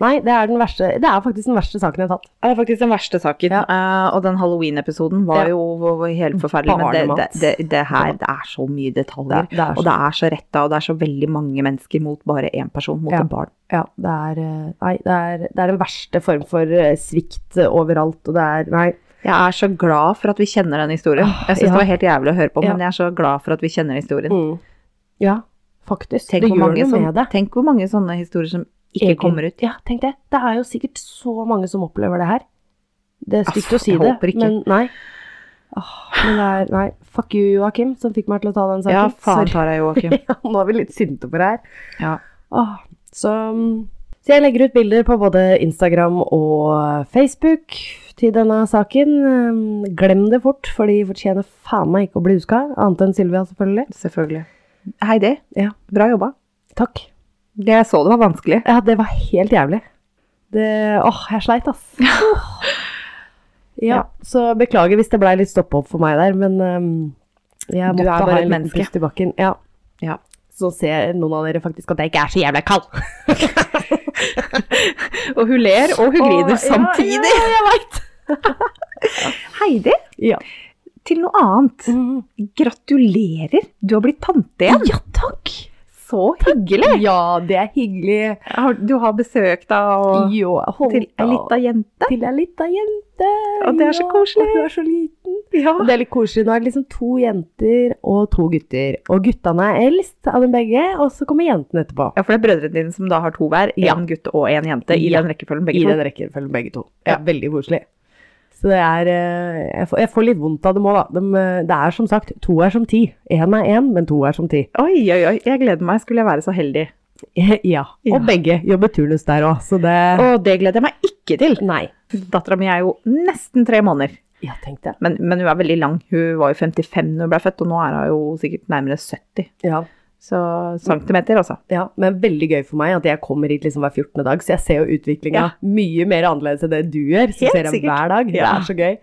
A: Nei, det er, den verste, det er faktisk den verste saken jeg har tatt.
B: Det er faktisk den verste saken. Eh, og den halloween-episoden var
A: Ja.
B: jo helt forferdelig. Men det, det,
A: Barnemat.
B: det, det her det er så mye detaljer.
A: Det- det er så-
B: og det er så retta, og det er så veldig mange mennesker mot bare én person, mot
A: Ja.
B: et barn.
A: Ja, det er, eh, nei, det, er, det er den verste form for eh, svikt eh, overalt, og det er Nei.
B: Jeg er så glad for at vi kjenner den historien.
A: Åh,
B: Jeg syns
A: ja.
B: det var helt jævlig å høre på,
A: Ja.
B: men jeg er så glad for at vi kjenner historien.
A: Mm. Ja, faktisk.
B: Tenk,
A: det
B: hvor
A: gjør
B: mange
A: noe
B: som,
A: med det.
B: tenk hvor mange sånne historier som ikke
A: Egen-
B: kommer ut.
A: Ja, tenk det. Det er jo sikkert så mange som opplever det her. Det er stygt
B: Aff,
A: å si
B: jeg
A: det,
B: håper ikke.
A: men nei. Åh, Ah, men det er, nei. Fuck you, Joakim, som fikk meg til å ta den saken.
B: Ja,
A: Sorry.
B: faen tar jeg Joakim.
A: Ja, Nå er vi litt sinte på det her.
B: Ja.
A: Åh, så, mm, så jeg legger ut bilder på både Instagram og Facebook til denne saken. Um, Glem det fort, for de fortjener faen meg ikke å bli huska. Annet enn Silvia, selvfølgelig.
B: Selvfølgelig. Heidi,
A: Ja.
B: bra jobba.
A: Takk.
B: Det jeg så det var vanskelig.
A: Ja, det var helt jævlig. Det, åh, jeg sleit, ass. Åh. Ja,
B: Ja.
A: så beklager hvis det blei litt stoppehopp for meg der, men um, jeg
B: Du
A: måtte
B: er bare
A: ha
B: et
A: en liten
B: menneske.
A: pust i bakken. Ja.
B: Ja.
A: Så ser noen av dere faktisk at jeg ikke er så jævla kald.
B: Og hun ler, og hun
A: Åh,
B: griner
A: ja,
B: samtidig. jeg vet. Heidi,
A: Ja.
B: til noe annet.
A: Mm.
B: Gratulerer, du har blitt tante igjen.
A: Ja, takk!
B: Mm. Så hyggelig.
A: Ja, det er hyggelig.
B: Har- Du har besøk da, og
A: Jo, hold
B: til ei lita jente.
A: til ei lita jente.
B: Og det er så
A: Ja,
B: koselig.
A: Og hun er så liten.
B: Ja.
A: Og det er litt koselig. Nå er det liksom to jenter og to gutter. Og guttene er eldst av dem begge, og så kommer jentene etterpå.
B: for det er brødrene dine som da har to hver.
A: Ja.
B: En gutt og en jente, i
A: Ja.
B: den rekkefølgen
A: I
B: begge to.
A: den rekkefølgen, begge to. Ja, Veldig koselig. Så det er eh, Jeg får, jeg får litt vondt av dem òg, da. De, eh, det er som sagt, to er som ti. Én er én, men to er som ti.
B: Oi, oi, oi. Jeg gleder meg. Skulle jeg være så heldig.
A: Ja.
B: Ja.
A: Og begge jobber turnus der òg, så det
B: Og det gleder jeg meg ikke til.
A: Nei.
B: Dattera mi er jo nesten tre måneder.
A: Ja, tenk det.
B: Men, men hun er veldig lang. Hun var jo 55 da hun ble født, og nå er hun jo sikkert nærmere 70.
A: Ja.
B: Så centimeter, altså.
A: Ja, men veldig gøy for meg at jeg kommer hit liksom hver 14. dag, så jeg ser jo utviklinga
B: Ja.
A: mye mer annerledes enn det du gjør. Så
B: Helt
A: ser jeg
B: sikkert.
A: hver dag. Det
B: Ja.
A: er så gøy.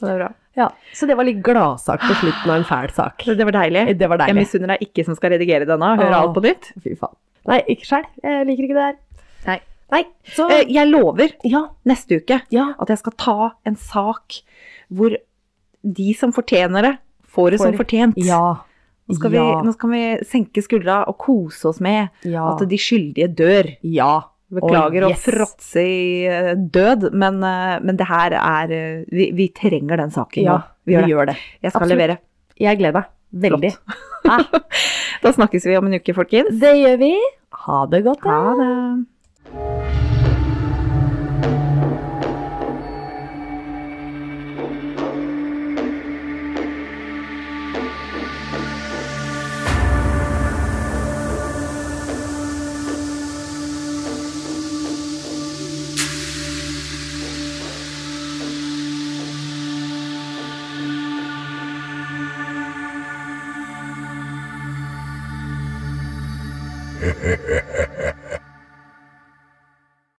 B: Så det er bra.
A: Ja, Så det var litt gladsak på slutten av en fæl sak.
B: Så det var deilig.
A: Det var
B: Jeg
A: deilig.
B: misunner deg ikke som skal redigere denne og høre
A: Åh.
B: alt på nytt.
A: Fy faen. Nei, ikke sjæl. Jeg liker ikke det her.
B: Nei.
A: Nei, så
B: Eh, Jeg lover
A: Ja.
B: neste uke
A: Ja.
B: at jeg skal ta en sak hvor de som fortjener det, får det som
A: Får-
B: fortjent.
A: Ja.
B: Nå, skal vi,
A: ja,
B: nå skal vi senke skuldra og kose oss med
A: ja.
B: at de skyldige dør.
A: ja.
B: Beklager
A: Å,
B: å
A: yes.
B: fråtse i eh, død, men, eh, men det her er eh, vi, vi trenger den saken
A: Ja,
B: nå. Vi gjør det.
A: gjør det.
B: Jeg skal
A: absolutt.
B: levere.
A: Jeg gleder meg. Veldig.
B: Da snakkes vi om en uke, folkens.
A: Det gjør vi. Ha det godt, da.
B: Ha det.